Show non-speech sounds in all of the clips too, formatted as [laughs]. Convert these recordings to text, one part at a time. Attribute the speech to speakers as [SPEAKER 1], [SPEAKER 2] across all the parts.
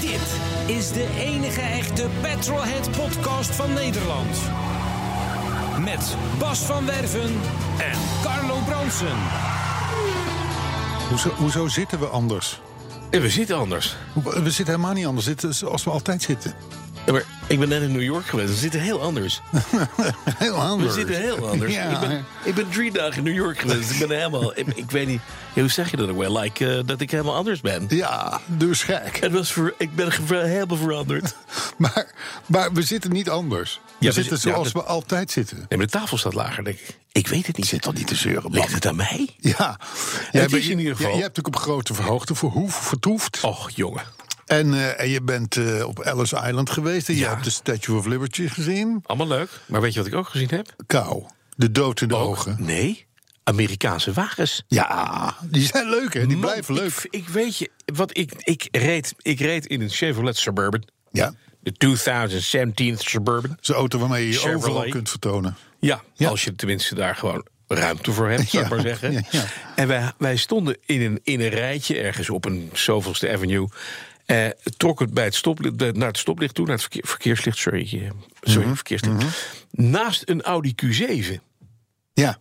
[SPEAKER 1] Dit is de enige echte Petrolhead podcast van Nederland. Met Bas van Werven en Carlo Bronsen.
[SPEAKER 2] Hoezo, hoezo zitten we anders?
[SPEAKER 3] En we zitten anders.
[SPEAKER 2] Hoe- We zitten helemaal niet anders. Dit is zoals we altijd zitten.
[SPEAKER 3] Ja, maar ik ben net in New York geweest. We zitten heel anders.
[SPEAKER 2] Heel
[SPEAKER 3] We
[SPEAKER 2] anders.
[SPEAKER 3] zitten heel [laughs] anders.
[SPEAKER 2] Ja,
[SPEAKER 3] ik, ben, ik ben drie dagen in New York geweest. Dus Ik ben helemaal. Ik, ik weet niet. ja, hoe zeg je dat ook wel? Like, eh, dat ik helemaal anders ben.
[SPEAKER 2] ja, dus gek.
[SPEAKER 3] Het was ver- ik ben gever- helemaal [laughs] veranderd.
[SPEAKER 2] Maar, maar we zitten niet anders. We
[SPEAKER 3] Ja, we
[SPEAKER 2] zitten
[SPEAKER 3] zi- ja,
[SPEAKER 2] zoals
[SPEAKER 3] dat-
[SPEAKER 2] we altijd zitten.
[SPEAKER 3] Nee, maar de tafel staat lager, denk ik. Ik weet het niet. Zit toch niet te zeuren? Ligt het aan mij?
[SPEAKER 2] Ja,
[SPEAKER 3] is
[SPEAKER 2] bent-
[SPEAKER 3] in ieder geval.
[SPEAKER 2] Je, hebt ook op grote hoogte verhoef, vertoefd.
[SPEAKER 3] Och, jongen.
[SPEAKER 2] En, eh, en je bent eh, op Ellis Island geweest. En je
[SPEAKER 3] Ja.
[SPEAKER 2] hebt de Statue of Liberty gezien.
[SPEAKER 3] Allemaal leuk. Maar weet je wat ik ook gezien heb?
[SPEAKER 2] Kou. De dood in de ogen.
[SPEAKER 3] Nee. Amerikaanse wagens.
[SPEAKER 2] Ja, die zijn leuk, hè? Die
[SPEAKER 3] Man,
[SPEAKER 2] blijven leuk.
[SPEAKER 3] Ik, ik weet je, wat ik, ik, reed, ik reed in een Chevrolet Suburban.
[SPEAKER 2] Ja,
[SPEAKER 3] De 2017 Suburban.
[SPEAKER 2] zo'n auto waarmee je je
[SPEAKER 3] Chevrolet.
[SPEAKER 2] overal kunt vertonen.
[SPEAKER 3] Ja,
[SPEAKER 2] Ja.
[SPEAKER 3] als je tenminste daar gewoon ruimte voor hebt, zou ik
[SPEAKER 2] Ja,
[SPEAKER 3] maar zeggen.
[SPEAKER 2] ja, ja.
[SPEAKER 3] En wij, wij stonden in een, in een rijtje ergens op een zoveelste avenue. Eh, trok het bij het stoplicht, bij- naar het stoplicht toe, naar het verkeer- verkeerslicht, sorry. eh, sorry
[SPEAKER 2] Mhm.
[SPEAKER 3] verkeerslicht. Naast een Audi Q7.
[SPEAKER 2] Ja,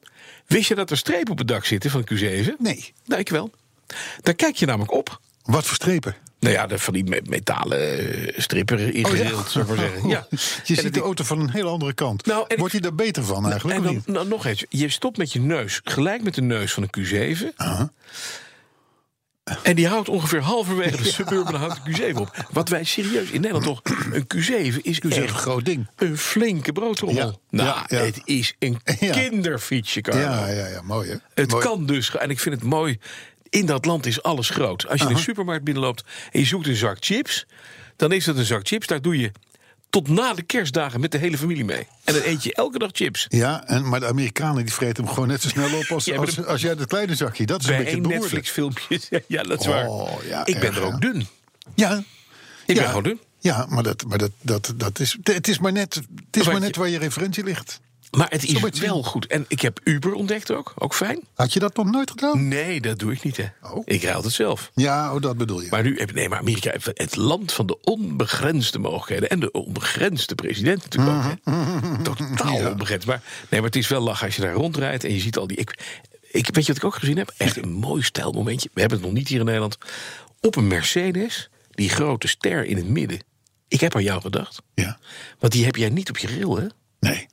[SPEAKER 3] Wist je dat er strepen op het dak zitten van een Q7?
[SPEAKER 2] nee.
[SPEAKER 3] Nou, ik wel. Daar kijk je namelijk op.
[SPEAKER 2] Wat voor strepen?
[SPEAKER 3] Nou ja, de- van die me- metalen eh,
[SPEAKER 2] Oh
[SPEAKER 3] stripper ingedeeld, zou ik maar
[SPEAKER 2] [laughs]
[SPEAKER 3] zeggen. Ja.
[SPEAKER 2] Je
[SPEAKER 3] En
[SPEAKER 2] ziet
[SPEAKER 3] dat
[SPEAKER 2] de
[SPEAKER 3] ik-
[SPEAKER 2] auto van een heel andere kant.
[SPEAKER 3] Nou, en
[SPEAKER 2] Wordt hij daar beter van eigenlijk?
[SPEAKER 3] En
[SPEAKER 2] of
[SPEAKER 3] dan,
[SPEAKER 2] niet?
[SPEAKER 3] nou, nog eens. Je stopt met je neus gelijk met de neus van een Q7. En die houdt ongeveer halverwege de suburban houdt de Q7 op. Wat wij serieus in Nederland toch... Een Q7 is
[SPEAKER 2] is
[SPEAKER 3] Q7
[SPEAKER 2] echt een groot ding.
[SPEAKER 3] Een flinke broodtrommel.
[SPEAKER 2] Ja,
[SPEAKER 3] Nou,
[SPEAKER 2] ja, ja.
[SPEAKER 3] het is een
[SPEAKER 2] Ja.
[SPEAKER 3] kinderfietsje, Carlo.
[SPEAKER 2] Ja, ja, ja, mooi hè?
[SPEAKER 3] nou, Het
[SPEAKER 2] Mooi.
[SPEAKER 3] kan dus. En ik vind het mooi. In dat land is alles groot. Als je in de supermarkt binnenloopt en je zoekt een zak chips, dan is dat een zak chips. Daar doe je tot na de kerstdagen met de hele familie mee. En dan eet je elke dag chips.
[SPEAKER 2] Ja, en, maar de Amerikanen die vreten hem gewoon net zo snel op als,
[SPEAKER 3] Ja, maar
[SPEAKER 2] als,
[SPEAKER 3] de-
[SPEAKER 2] als jij dat kleine zakje. Dat is een
[SPEAKER 3] Bij
[SPEAKER 2] beetje
[SPEAKER 3] één
[SPEAKER 2] beroerd.
[SPEAKER 3] Netflix-filmpje. [laughs] Ja, dat is
[SPEAKER 2] Oh,
[SPEAKER 3] waar.
[SPEAKER 2] ja,
[SPEAKER 3] ik ben
[SPEAKER 2] erg,
[SPEAKER 3] er ook
[SPEAKER 2] ja.
[SPEAKER 3] dun.
[SPEAKER 2] Ja.
[SPEAKER 3] Ik
[SPEAKER 2] ja.
[SPEAKER 3] ben gewoon dun.
[SPEAKER 2] Ja, maar, dat, maar dat, dat, dat is, het is maar net, het is
[SPEAKER 3] Wat
[SPEAKER 2] maar
[SPEAKER 3] je-
[SPEAKER 2] net waar je referentie ligt.
[SPEAKER 3] Maar het
[SPEAKER 2] moet
[SPEAKER 3] is
[SPEAKER 2] je zien.
[SPEAKER 3] wel goed. En ik heb Uber ontdekt ook. Ook fijn.
[SPEAKER 2] Had je dat nog nooit gedaan?
[SPEAKER 3] Nee, dat doe ik niet, hè.
[SPEAKER 2] Oh.
[SPEAKER 3] Ik ruil het zelf.
[SPEAKER 2] Ja, oh, dat bedoel je.
[SPEAKER 3] Maar nu heb nee, maar Amerika heeft het land van de onbegrensde mogelijkheden en de onbegrensde president natuurlijk ook.
[SPEAKER 2] Mhm,
[SPEAKER 3] hè. Totaal onbegrensd. Maar, nee, maar het is wel lachen als je daar rondrijdt en je ziet al die. Ik, ik, weet je wat ik ook gezien heb? Echt een mooi stijlmomentje. We hebben het nog niet hier in Nederland. Op een Mercedes, die grote ster in het midden. Ik heb aan jou gedacht.
[SPEAKER 2] Ja.
[SPEAKER 3] Want die heb jij niet op je grill, hè?
[SPEAKER 2] Nee.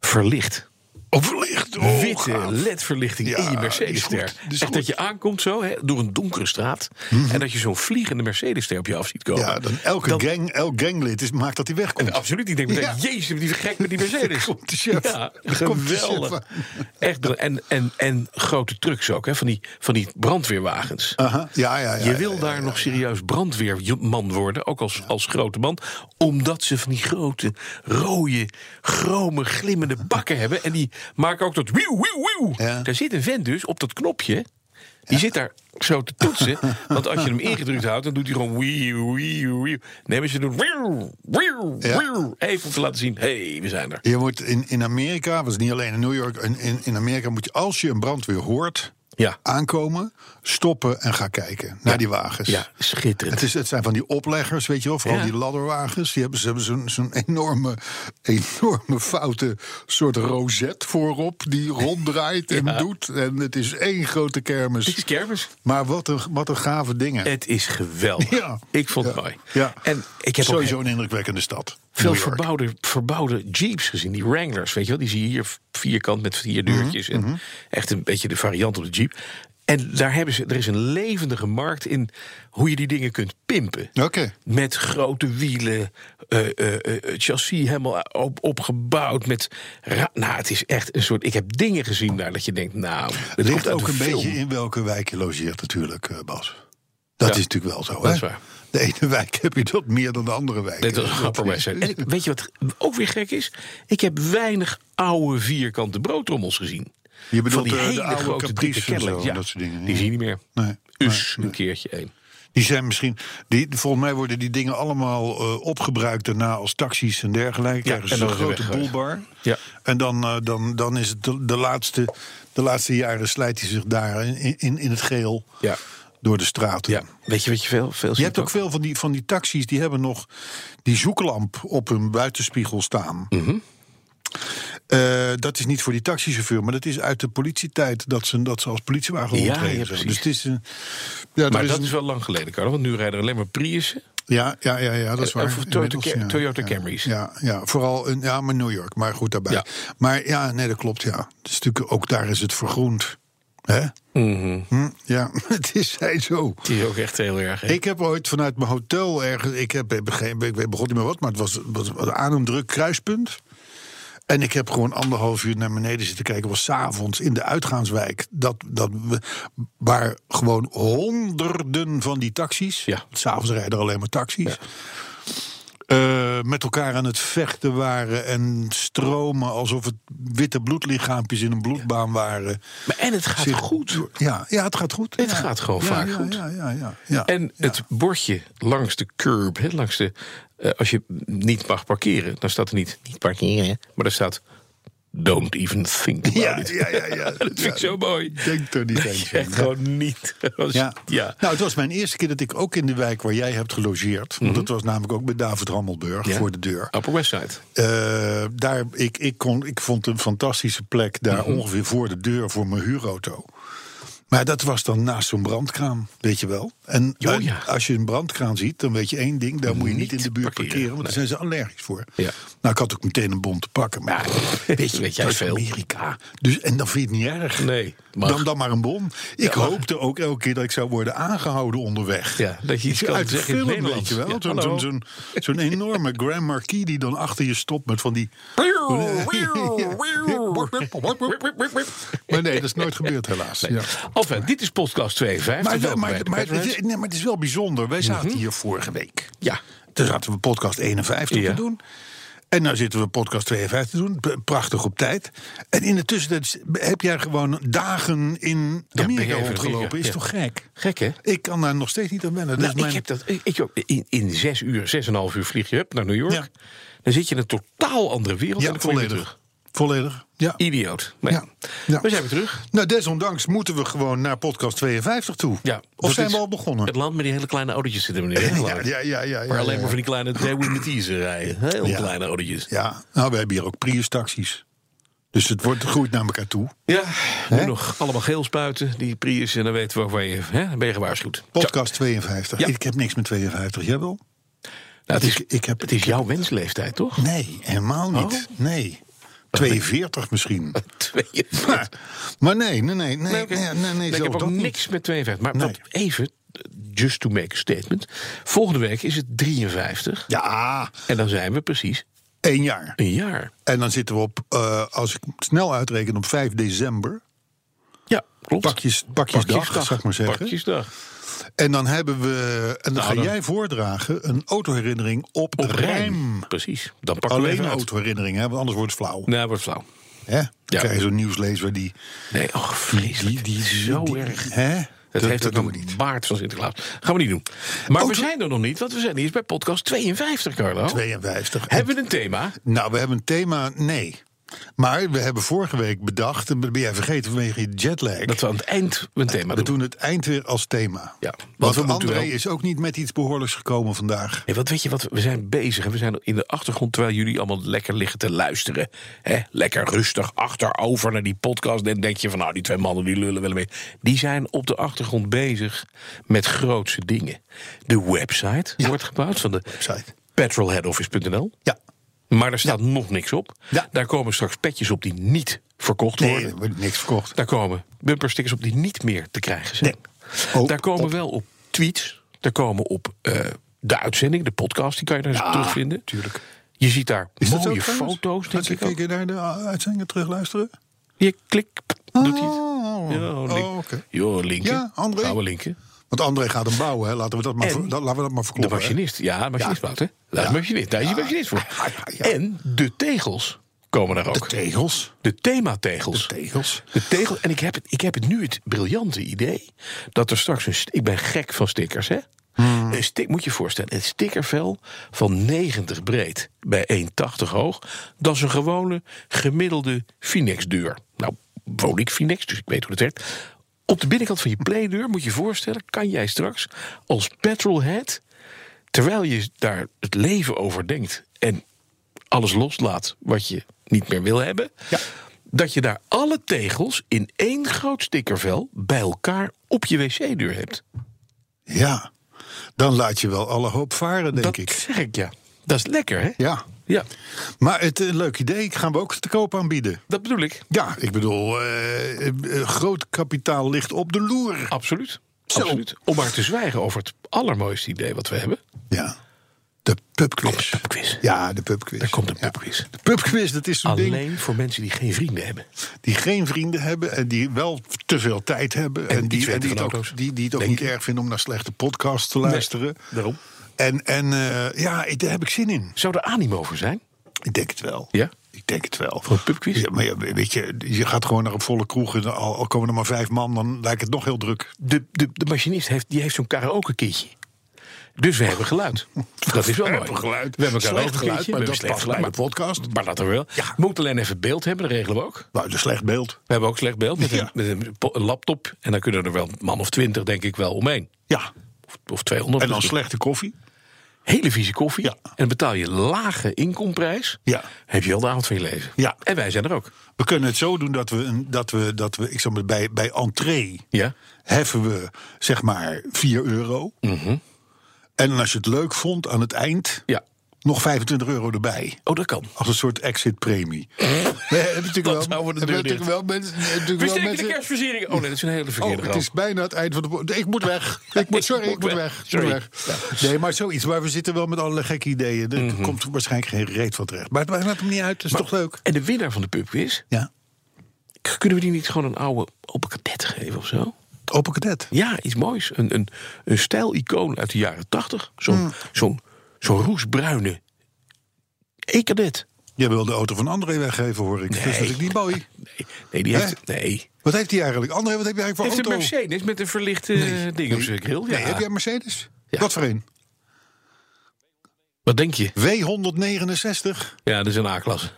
[SPEAKER 3] Verlicht.
[SPEAKER 2] Overlicht. Oh,
[SPEAKER 3] Witte
[SPEAKER 2] gaaf.
[SPEAKER 3] ledverlichting
[SPEAKER 2] Ja,
[SPEAKER 3] in je
[SPEAKER 2] die is
[SPEAKER 3] Mercedes-ster.
[SPEAKER 2] goed, die is goed.
[SPEAKER 3] Echt
[SPEAKER 2] Mhm.
[SPEAKER 3] dat je aankomt zo hè, door een donkere straat. En dat je zo'n vliegende Mercedes-ster op je af ziet komen.
[SPEAKER 2] Ja, dan elke
[SPEAKER 3] Dan-
[SPEAKER 2] gang, elk ganglid is, maakt dat hij wegkomt.
[SPEAKER 3] Absoluut. Ik denk meteen,
[SPEAKER 2] Ja.
[SPEAKER 3] jezus, wat die gek met die
[SPEAKER 2] [laughs]
[SPEAKER 3] Mercedes.
[SPEAKER 2] komt de chef.
[SPEAKER 3] Ja,
[SPEAKER 2] Daar komt de
[SPEAKER 3] geweldig.
[SPEAKER 2] chef
[SPEAKER 3] Echt, br- en, en, en grote trucks ook, hè, van, die, van die brandweerwagens.
[SPEAKER 2] Aha. Ja, ja, ja.
[SPEAKER 3] je
[SPEAKER 2] ja,
[SPEAKER 3] wil
[SPEAKER 2] ja,
[SPEAKER 3] daar
[SPEAKER 2] ja.
[SPEAKER 3] nog serieus brandweerman worden, ook als, als grote man. Omdat ze van die grote, rode, chrome, glimmende bakken hebben. En die maken ook dat wieuw, wieuw, wieuw.
[SPEAKER 2] Ja.
[SPEAKER 3] Daar zit een vent dus op dat knopje. Die zit daar zo te
[SPEAKER 2] [laughs]
[SPEAKER 3] toetsen. want als je hem ingedrukt houdt, dan doet hij gewoon wieuw, wieuw, wieuw. Nee, maar ze doen wieuw, wieuw,
[SPEAKER 2] Ja.
[SPEAKER 3] wieuw. Even om te laten zien, hé, hey, we zijn er.
[SPEAKER 2] Je moet in, in Amerika, was niet alleen in New York, in, in, in Amerika moet je als je een brandweer hoort,
[SPEAKER 3] Ja.
[SPEAKER 2] aankomen, stoppen en gaan kijken naar die wagens.
[SPEAKER 3] Ja, schitterend.
[SPEAKER 2] Het, is, het zijn van die opleggers, weet je wel, vooral
[SPEAKER 3] Ja.
[SPEAKER 2] die ladderwagens. Die hebben, ze hebben zo'n zo'n enorme, enorme foute soort rozet voorop die ronddraait en doet. En het is één grote kermis.
[SPEAKER 3] Het is kermis. Eh,
[SPEAKER 2] Maar wat een, wat een gave dingen.
[SPEAKER 3] Het is geweldig.
[SPEAKER 2] Ja.
[SPEAKER 3] Ik vond het
[SPEAKER 2] Ja.
[SPEAKER 3] mooi.
[SPEAKER 2] Ja.
[SPEAKER 3] En ik heb ook
[SPEAKER 2] Sowieso een indrukwekkende stad.
[SPEAKER 3] veel
[SPEAKER 2] New York.
[SPEAKER 3] verbouwde, verbouwde jeeps gezien. Die
[SPEAKER 2] Mhm,
[SPEAKER 3] Wranglers, weet je wel. Die zie je hier vierkant met vier deurtjes. En echt een beetje de variant op de jeep. En daar hebben ze, er is een levendige markt in hoe je die dingen kunt pimpen.
[SPEAKER 2] Oké.
[SPEAKER 3] Met grote wielen, eh, eh, eh, het chassis helemaal op, opgebouwd. Met ra- nou, het is echt een soort. Ik heb dingen gezien daar dat je denkt, nou, het
[SPEAKER 2] Het
[SPEAKER 3] komt
[SPEAKER 2] ligt
[SPEAKER 3] uit
[SPEAKER 2] ook
[SPEAKER 3] de
[SPEAKER 2] een
[SPEAKER 3] film.
[SPEAKER 2] beetje in welke wijk je logeert natuurlijk, eh, Bas. Dat
[SPEAKER 3] Ja.
[SPEAKER 2] is natuurlijk wel zo, hè?
[SPEAKER 3] Dat is waar.
[SPEAKER 2] De ene [laughs] wijk heb je dat meer dan de andere wijk.
[SPEAKER 3] Dit was grappig bij zijn. En ik-
[SPEAKER 2] [laughs]
[SPEAKER 3] weet je wat ook weer gek is? Ik heb weinig oude vierkante broodtrommels gezien.
[SPEAKER 2] Je bedoelt
[SPEAKER 3] Van die
[SPEAKER 2] de- de
[SPEAKER 3] hele
[SPEAKER 2] oude
[SPEAKER 3] grote
[SPEAKER 2] Caprice
[SPEAKER 3] dikke
[SPEAKER 2] en zo,
[SPEAKER 3] Cadillacs, ja.
[SPEAKER 2] dat soort dingen,
[SPEAKER 3] Die
[SPEAKER 2] ja.
[SPEAKER 3] zie je niet meer.
[SPEAKER 2] Nee,
[SPEAKER 3] Us,
[SPEAKER 2] nee,
[SPEAKER 3] een keertje één.
[SPEAKER 2] Die zijn misschien. Die, volgens mij worden die dingen allemaal eh, opgebruikt daarna als taxis en dergelijke. Krijgen
[SPEAKER 3] en
[SPEAKER 2] ze
[SPEAKER 3] dan
[SPEAKER 2] een
[SPEAKER 3] is het
[SPEAKER 2] grote
[SPEAKER 3] weggewerkt.
[SPEAKER 2] boelbar.
[SPEAKER 3] Ja.
[SPEAKER 2] En dan, eh, dan, dan is het de, de laatste, de laatste jaren slijt hij zich daar in, in, in het geel
[SPEAKER 3] Ja.
[SPEAKER 2] door de straten.
[SPEAKER 3] Ja, weet je wat je veel, veel
[SPEAKER 2] Je
[SPEAKER 3] ziet
[SPEAKER 2] hebt ook veel van die, van die taxis die hebben nog die zoeklamp op hun buitenspiegel staan.
[SPEAKER 3] Mhm.
[SPEAKER 2] Eh, dat is niet voor die taxichauffeur, maar dat is uit de politietijd dat ze, dat ze als politiewagen
[SPEAKER 3] Ja,
[SPEAKER 2] rondreden.
[SPEAKER 3] ja,
[SPEAKER 2] zeg maar.
[SPEAKER 3] precies.
[SPEAKER 2] dus het is een. Ja,
[SPEAKER 3] Maar
[SPEAKER 2] er
[SPEAKER 3] dat
[SPEAKER 2] een-
[SPEAKER 3] is wel lang geleden, Carlo. Want nu rijden er alleen maar Priussen.
[SPEAKER 2] ja, ja, ja, ja, dat is
[SPEAKER 3] Eh,
[SPEAKER 2] waar.
[SPEAKER 3] of Toyota
[SPEAKER 2] Inmiddels,
[SPEAKER 3] Ca-
[SPEAKER 2] ja,
[SPEAKER 3] Toyota
[SPEAKER 2] ja,
[SPEAKER 3] Camrys.
[SPEAKER 2] Ja, ja, vooral in ja, maar New York, maar goed daarbij.
[SPEAKER 3] Ja.
[SPEAKER 2] Maar ja, nee, dat klopt, ja. Het is natuurlijk, ook daar is het vergroend. Hè? Hm, ja, [laughs] het is zij zo.
[SPEAKER 3] Die is ook echt heel erg. hè?
[SPEAKER 2] Ik heb ooit vanuit mijn hotel ergens. Ik, heb, ik, begreep- ik weet- begon niet meer wat, maar het was, was aan een druk kruispunt. En ik heb gewoon anderhalf uur naar beneden zitten kijken. Het was s'avonds in de uitgaanswijk. Dat, dat, we- waar gewoon honderden van die taxis.
[SPEAKER 3] Ja.
[SPEAKER 2] S'avonds rijden er alleen maar taxis. eh, met elkaar aan het vechten waren en stromen alsof het witte bloedlichaampjes in een bloedbaan waren.
[SPEAKER 3] Maar en het gaat
[SPEAKER 2] Zit-
[SPEAKER 3] goed.
[SPEAKER 2] Ja, ja, het gaat goed.
[SPEAKER 3] Het
[SPEAKER 2] Ja.
[SPEAKER 3] gaat gewoon
[SPEAKER 2] Ja,
[SPEAKER 3] vaak
[SPEAKER 2] ja,
[SPEAKER 3] goed.
[SPEAKER 2] Ja, ja, ja, ja.
[SPEAKER 3] En het bordje langs de curb, hè, langs de, eh, als je niet mag parkeren, dan staat er niet niet parkeren, maar daar staat don't even think
[SPEAKER 2] [laughs]
[SPEAKER 3] about
[SPEAKER 2] Ja,
[SPEAKER 3] it.
[SPEAKER 2] ja, ja, ja.
[SPEAKER 3] [laughs] dat vind
[SPEAKER 2] Ja,
[SPEAKER 3] ik zo mooi.
[SPEAKER 2] denk er niet
[SPEAKER 3] Dat
[SPEAKER 2] eens
[SPEAKER 3] je
[SPEAKER 2] aan,
[SPEAKER 3] Echt
[SPEAKER 2] ja.
[SPEAKER 3] gewoon niet. [laughs] Als-
[SPEAKER 2] Ja.
[SPEAKER 3] ja.
[SPEAKER 2] Nou, het was mijn eerste keer dat ik ook in de wijk waar jij hebt gelogeerd. Want dat was namelijk ook bij David Rammelburg
[SPEAKER 3] Mhm. Ja.
[SPEAKER 2] voor de deur.
[SPEAKER 3] Upper West Side.
[SPEAKER 2] Eh, daar, ik, ik, kon, ik vond een fantastische plek daar
[SPEAKER 3] Mhm.
[SPEAKER 2] ongeveer voor de deur voor mijn huurauto. Maar dat was dan naast zo'n brandkraan, weet je wel. En
[SPEAKER 3] Jo,
[SPEAKER 2] eh,
[SPEAKER 3] Oh, ja.
[SPEAKER 2] als je een brandkraan ziet, dan weet je één ding: daar moet je niet
[SPEAKER 3] Niet
[SPEAKER 2] in de buurt parkeren,
[SPEAKER 3] parkeren,
[SPEAKER 2] want daar zijn ze allergisch voor.
[SPEAKER 3] Ja.
[SPEAKER 2] Nou, ik had ook meteen een bon te pakken. Maar
[SPEAKER 3] [laughs]
[SPEAKER 2] weet je,
[SPEAKER 3] weet jij
[SPEAKER 2] dat is
[SPEAKER 3] veel.
[SPEAKER 2] Amerika. Dus, en dan vind je het niet erg.
[SPEAKER 3] Nee, mag.
[SPEAKER 2] dan, dan maar een bon. Ik hoopte ook elke keer dat ik zou worden aangehouden onderweg.
[SPEAKER 3] Ja, dat je iets kan
[SPEAKER 2] Uit de
[SPEAKER 3] zeggen in het
[SPEAKER 2] film, weet
[SPEAKER 3] Nederlands.
[SPEAKER 2] je wel.
[SPEAKER 3] Ja,
[SPEAKER 2] Zo'n
[SPEAKER 3] hallo.
[SPEAKER 2] zo'n- zo'n zo'n
[SPEAKER 3] [laughs]
[SPEAKER 2] enorme Grand Marquis die dan achter je stopt met van die... Maar nee, dat is
[SPEAKER 3] [laughs]
[SPEAKER 2] nooit gebeurd helaas. Ja.
[SPEAKER 3] Enfin, dit is podcast 52.
[SPEAKER 2] Maar, wel-
[SPEAKER 3] Welkom
[SPEAKER 2] maar,
[SPEAKER 3] bij de
[SPEAKER 2] maar,
[SPEAKER 3] Petroheads.
[SPEAKER 2] het, nee, maar het is wel bijzonder. Wij zaten hier vorige week.
[SPEAKER 3] Mhm. Ja.
[SPEAKER 2] Toen zaten we podcast 51
[SPEAKER 3] Ja.
[SPEAKER 2] te doen. En nu zitten we podcast 52 te doen. P- Prachtig op tijd. En in de tussentijd heb jij gewoon dagen in
[SPEAKER 3] ben
[SPEAKER 2] Amerika
[SPEAKER 3] je even
[SPEAKER 2] rondgelopen.
[SPEAKER 3] Amerika,
[SPEAKER 2] Is
[SPEAKER 3] ja.
[SPEAKER 2] toch gek?
[SPEAKER 3] Gek, hè?
[SPEAKER 2] Ik kan daar nog steeds niet aan wennen. Nou, Dat
[SPEAKER 3] Nou,
[SPEAKER 2] is mijn-
[SPEAKER 3] ik heb dat, ik, ik ook. in, in zes uur, zes en een half uur vlieg je hup, naar New York.
[SPEAKER 2] Ja.
[SPEAKER 3] Dan zit je in een totaal andere wereld. en
[SPEAKER 2] ja,
[SPEAKER 3] Oh, dan kom je weer
[SPEAKER 2] volledig. Volledig. Ja.
[SPEAKER 3] terug. Idioot. Nee.
[SPEAKER 2] Ja. Ja.
[SPEAKER 3] We zijn weer terug.
[SPEAKER 2] Nou, desondanks moeten we gewoon naar podcast 52 toe.
[SPEAKER 3] Ja,
[SPEAKER 2] of
[SPEAKER 3] dat
[SPEAKER 2] zijn
[SPEAKER 3] is-
[SPEAKER 2] we al begonnen?
[SPEAKER 3] Het land met die hele kleine autootjes
[SPEAKER 2] [laughs]
[SPEAKER 3] zitten, meneer. Heel
[SPEAKER 2] Ja,
[SPEAKER 3] lang.
[SPEAKER 2] ja, ja, ja.
[SPEAKER 3] Maar
[SPEAKER 2] ja,
[SPEAKER 3] alleen
[SPEAKER 2] ja.
[SPEAKER 3] maar van die kleine Dewey Matisse rijden. Heel
[SPEAKER 2] Ja.
[SPEAKER 3] kleine autootjes.
[SPEAKER 2] Ja, nou, we hebben hier ook Prius-taxis. Dus het wordt groeit naar elkaar toe.
[SPEAKER 3] Ja, nu nog allemaal geel spuiten, die Prius. En dan weten we waar je... Hè, dan ben je gewaarschuwd. Zo.
[SPEAKER 2] Podcast 52.
[SPEAKER 3] Ja.
[SPEAKER 2] Ik heb niks met 52. Jij wel?
[SPEAKER 3] Nou, het, is,
[SPEAKER 2] ik- ik heb-
[SPEAKER 3] het is jouw wensleeftijd, [laughs] toch?
[SPEAKER 2] Nee, helemaal
[SPEAKER 3] Oh.
[SPEAKER 2] niet. Nee. 42
[SPEAKER 3] [laughs]
[SPEAKER 2] misschien.
[SPEAKER 3] Twee.
[SPEAKER 2] Maar, maar nee, nee, nee. Nee,
[SPEAKER 3] Nee,
[SPEAKER 2] nee,
[SPEAKER 3] oké.
[SPEAKER 2] nee, nee,
[SPEAKER 3] Nee, ik
[SPEAKER 2] zo
[SPEAKER 3] heb ook
[SPEAKER 2] dat niet.
[SPEAKER 3] niks met 52. Maar
[SPEAKER 2] Nee.
[SPEAKER 3] wat, even, just to make a statement. Volgende week is het 53.
[SPEAKER 2] Ja,
[SPEAKER 3] En dan zijn we precies
[SPEAKER 2] één jaar.
[SPEAKER 3] een jaar.
[SPEAKER 2] En dan zitten we op, eh, als ik snel uitreken, op 5 december.
[SPEAKER 3] Ja, klopt.
[SPEAKER 2] Pakjes, pakjesdag, zou ik maar zeggen.
[SPEAKER 3] Pakjesdag.
[SPEAKER 2] En dan hebben we, en dan
[SPEAKER 3] Nou,
[SPEAKER 2] ga
[SPEAKER 3] dan-
[SPEAKER 2] jij voordragen, een autoherinnering op,
[SPEAKER 3] Op
[SPEAKER 2] rijm.
[SPEAKER 3] rijm. Precies. Dan pakken we
[SPEAKER 2] Alleen
[SPEAKER 3] even
[SPEAKER 2] een
[SPEAKER 3] uit.
[SPEAKER 2] autoherinnering, hè, want anders wordt het flauw.
[SPEAKER 3] Nou, wordt flauw.
[SPEAKER 2] Hè? Dan
[SPEAKER 3] Ja.
[SPEAKER 2] krijg je zo'n nieuwslezer die...
[SPEAKER 3] Nee, oh, vreselijk.
[SPEAKER 2] Die- die- die-
[SPEAKER 3] zo
[SPEAKER 2] die-
[SPEAKER 3] erg.
[SPEAKER 2] hè?
[SPEAKER 3] Dat,
[SPEAKER 2] Dat-
[SPEAKER 3] heeft
[SPEAKER 2] dat
[SPEAKER 3] ook
[SPEAKER 2] doen
[SPEAKER 3] een
[SPEAKER 2] we niet.
[SPEAKER 3] baard van Sinterklaas. Gaan we niet doen. Maar
[SPEAKER 2] Oh,
[SPEAKER 3] we
[SPEAKER 2] zo-
[SPEAKER 3] zijn er nog niet, want we zijn eerst bij podcast 52, Carlo.
[SPEAKER 2] 52.
[SPEAKER 3] Hebben we een thema?
[SPEAKER 2] Nou, we hebben een thema, nee. Maar we hebben vorige week bedacht, en dat ben jij vergeten vanwege je jetlag.
[SPEAKER 3] Dat we aan het eind een thema
[SPEAKER 2] we
[SPEAKER 3] doen.
[SPEAKER 2] doen het eind weer als thema.
[SPEAKER 3] Ja, want
[SPEAKER 2] want
[SPEAKER 3] we moeten
[SPEAKER 2] André
[SPEAKER 3] wel-
[SPEAKER 2] is ook niet met iets behoorlijks gekomen vandaag.
[SPEAKER 3] Nee, want weet je wat, we zijn bezig en we zijn in de achtergrond terwijl jullie allemaal lekker liggen te luisteren. Hè? Lekker rustig achterover naar die podcast. En denk je van nou, die twee mannen die lullen wel mee. Die zijn op de achtergrond bezig met grootse dingen. De website wordt gebouwd van de
[SPEAKER 2] Website.
[SPEAKER 3] petrolheadoffice.nl.
[SPEAKER 2] Ja,
[SPEAKER 3] Maar er staat nog niks op.
[SPEAKER 2] Ja.
[SPEAKER 3] Daar komen straks petjes op die niet verkocht
[SPEAKER 2] Nee,
[SPEAKER 3] worden.
[SPEAKER 2] er wordt niks verkocht.
[SPEAKER 3] Daar komen bumperstickers op die niet meer te krijgen zijn.
[SPEAKER 2] Nee. Ook
[SPEAKER 3] daar komen
[SPEAKER 2] op-
[SPEAKER 3] wel op tweets. Daar komen op eh, de uitzending, de podcast. Die kan je daar eens terugvinden.
[SPEAKER 2] Ah, tuurlijk.
[SPEAKER 3] Je ziet daar
[SPEAKER 2] dat
[SPEAKER 3] mooie
[SPEAKER 2] ook trouwens?
[SPEAKER 3] foto's, denk
[SPEAKER 2] Laat
[SPEAKER 3] ik
[SPEAKER 2] eens
[SPEAKER 3] ook.
[SPEAKER 2] kijken naar de uh, uitzendingen terug luisteren.
[SPEAKER 3] Je klikt, doet hij het.
[SPEAKER 2] Oh,
[SPEAKER 3] Ja,
[SPEAKER 2] oh,
[SPEAKER 3] link.
[SPEAKER 2] oké.
[SPEAKER 3] Jo, linken.
[SPEAKER 2] Ja, André.
[SPEAKER 3] Gaan we linken.
[SPEAKER 2] Want André gaat hem bouwen, hè. Laten we dat maar,
[SPEAKER 3] En
[SPEAKER 2] ver- dat, laten we dat maar
[SPEAKER 3] De
[SPEAKER 2] verkloppen. hè.
[SPEAKER 3] machinist. Ja, machinist
[SPEAKER 2] Ja.
[SPEAKER 3] Wouter. Dat
[SPEAKER 2] Ja.
[SPEAKER 3] is machinist. Daar is je machinist voor.
[SPEAKER 2] Ja, ja, ja.
[SPEAKER 3] En de tegels komen daar
[SPEAKER 2] De
[SPEAKER 3] ook.
[SPEAKER 2] tegels.
[SPEAKER 3] De themategels.
[SPEAKER 2] De tegels.
[SPEAKER 3] De tegel. En ik heb, het, ik heb het nu het briljante idee dat er straks een. st- Ik ben gek van stickers, hè?
[SPEAKER 2] Hmm.
[SPEAKER 3] Een stick, moet je je voorstellen, een stickervel van 90 breed bij 1,80 hoog. Dat is een gewone gemiddelde Finex-deur. Nou, woon ik Finex, dus ik weet hoe dat werkt. Op de binnenkant van je playdeur, moet je je voorstellen, kan jij straks als petrolhead, terwijl je daar het leven over denkt en alles loslaat wat je niet meer wil hebben. Dat je daar alle tegels in één groot stickervel bij elkaar op je wc-deur hebt.
[SPEAKER 2] Ja. Dan laat je wel alle hoop varen, denk
[SPEAKER 3] dat
[SPEAKER 2] ik.
[SPEAKER 3] zeg ik ja. Dat is lekker, hè?
[SPEAKER 2] Ja.
[SPEAKER 3] Ja,
[SPEAKER 2] Maar het eh, leuk idee. Gaan we ook te koop aanbieden.
[SPEAKER 3] dat bedoel ik.
[SPEAKER 2] Ja, ik bedoel, eh, eh, groot kapitaal ligt op de loer.
[SPEAKER 3] Absoluut.
[SPEAKER 2] Zo.
[SPEAKER 3] Absoluut. Om maar te zwijgen over het allermooiste idee wat we hebben.
[SPEAKER 2] Ja. De pubquiz.
[SPEAKER 3] De pubquiz.
[SPEAKER 2] Ja, de pubquiz.
[SPEAKER 3] Daar komt de
[SPEAKER 2] Ja.
[SPEAKER 3] pubquiz.
[SPEAKER 2] De pubquiz, dat is zo'n ding
[SPEAKER 3] Alleen voor mensen die geen vrienden hebben.
[SPEAKER 2] die geen vrienden hebben en die wel te veel tijd hebben. En,
[SPEAKER 3] iets
[SPEAKER 2] die, en
[SPEAKER 3] weten
[SPEAKER 2] die, het
[SPEAKER 3] van
[SPEAKER 2] ook,
[SPEAKER 3] auto's.
[SPEAKER 2] die, die het ook
[SPEAKER 3] Denk
[SPEAKER 2] niet erg vinden om naar slechte podcasts te luisteren.
[SPEAKER 3] daarom.
[SPEAKER 2] En, en eh, ja, ik- daar heb ik zin in.
[SPEAKER 3] Zou er animo voor zijn?
[SPEAKER 2] Ik denk het wel.
[SPEAKER 3] Ja?
[SPEAKER 2] Ik denk het wel.
[SPEAKER 3] Voor een pubquiz?
[SPEAKER 2] Ja, maar ja, weet je, je gaat gewoon naar een volle kroeg en al, al komen er maar vijf man, dan lijkt het nog heel druk.
[SPEAKER 3] De, de, de machinist heeft, die heeft zo'n karaoke-kitje. Dus we hebben
[SPEAKER 2] [laughs]
[SPEAKER 3] geluid. Dat is wel
[SPEAKER 2] We
[SPEAKER 3] mooi.
[SPEAKER 2] hebben geluid.
[SPEAKER 3] We hebben een
[SPEAKER 2] Slecht geluid,
[SPEAKER 3] karaoke-kitje, we
[SPEAKER 2] maar
[SPEAKER 3] hebben
[SPEAKER 2] dat
[SPEAKER 3] slecht
[SPEAKER 2] past
[SPEAKER 3] geluid,
[SPEAKER 2] bij de
[SPEAKER 3] maar-
[SPEAKER 2] podcast.
[SPEAKER 3] Maar laten we wel.
[SPEAKER 2] Ja.
[SPEAKER 3] We moeten alleen even beeld hebben, dat regelen we ook.
[SPEAKER 2] Nou, een slecht beeld.
[SPEAKER 3] We hebben ook slecht beeld met,
[SPEAKER 2] Ja.
[SPEAKER 3] een, met een po- een laptop. En dan kunnen er wel een man of twintig, denk ik, wel omheen.
[SPEAKER 2] Ja.
[SPEAKER 3] Of, of 200.
[SPEAKER 2] En dan
[SPEAKER 3] misschien.
[SPEAKER 2] slechte koffie.
[SPEAKER 3] Hele vieze koffie.
[SPEAKER 2] Ja.
[SPEAKER 3] En dan betaal je lage inkomprijs.
[SPEAKER 2] Ja.
[SPEAKER 3] Heb je wel de avond van je leven.
[SPEAKER 2] Ja.
[SPEAKER 3] En wij zijn er ook.
[SPEAKER 2] We kunnen het zo doen dat we, een- dat we, dat we ik zeg maar, bij, bij entree
[SPEAKER 3] Ja.
[SPEAKER 2] heffen we zeg maar 4 euro. En dan als je het leuk vond aan het eind,
[SPEAKER 3] Mhm. Ja.
[SPEAKER 2] nog 25 euro erbij.
[SPEAKER 3] Oh, dat kan.
[SPEAKER 2] Als een soort exit
[SPEAKER 3] [laughs]
[SPEAKER 2] premie. We hebben natuurlijk
[SPEAKER 3] Dat
[SPEAKER 2] wel,
[SPEAKER 3] zou voor de
[SPEAKER 2] hebben
[SPEAKER 3] deur
[SPEAKER 2] natuurlijk wel mensen. Natuurlijk
[SPEAKER 3] We
[SPEAKER 2] wel
[SPEAKER 3] steken de
[SPEAKER 2] mensen
[SPEAKER 3] kerstversieringen. Oh nee, dat is een hele verkeerde
[SPEAKER 2] Oh, het is bijna het eind van de... po- Ik moet
[SPEAKER 3] [laughs]
[SPEAKER 2] weg. Ik moet, sorry, ik moet weg. Ik moet
[SPEAKER 3] Sorry.
[SPEAKER 2] weg. Nee, maar zoiets. Maar we zitten wel met allerlei gekke ideeën. Er
[SPEAKER 3] Mhm.
[SPEAKER 2] komt waarschijnlijk geen reet van terecht. Maar het maakt maakt hem niet uit. Dat is toch leuk?
[SPEAKER 3] En de winnaar van de pubquiz,
[SPEAKER 2] Ja.
[SPEAKER 3] k- kunnen we die niet gewoon een oude open cadet geven of zo?
[SPEAKER 2] Open cadet.
[SPEAKER 3] Ja, iets moois. Een, een, een stijlicoon uit de jaren tachtig. Zo'n
[SPEAKER 2] Hmm.
[SPEAKER 3] zo'n zo'n roesbruine e-, e-cadet.
[SPEAKER 2] Jij wil de auto van André weggeven, hoor ik. Dat is natuurlijk niet mooi.
[SPEAKER 3] Nee, nee, die heeft... Nee.
[SPEAKER 2] Wat heeft hij eigenlijk? André, wat heb je eigenlijk voor
[SPEAKER 3] heeft een
[SPEAKER 2] auto?
[SPEAKER 3] Mercedes met een verlichte eh, ding op zijn grill. Ja.
[SPEAKER 2] Nee, heb jij een Mercedes?
[SPEAKER 3] Ja.
[SPEAKER 2] Wat voor een?
[SPEAKER 3] Wat denk je?
[SPEAKER 2] W169?
[SPEAKER 3] Ja, dat is een A-klasse.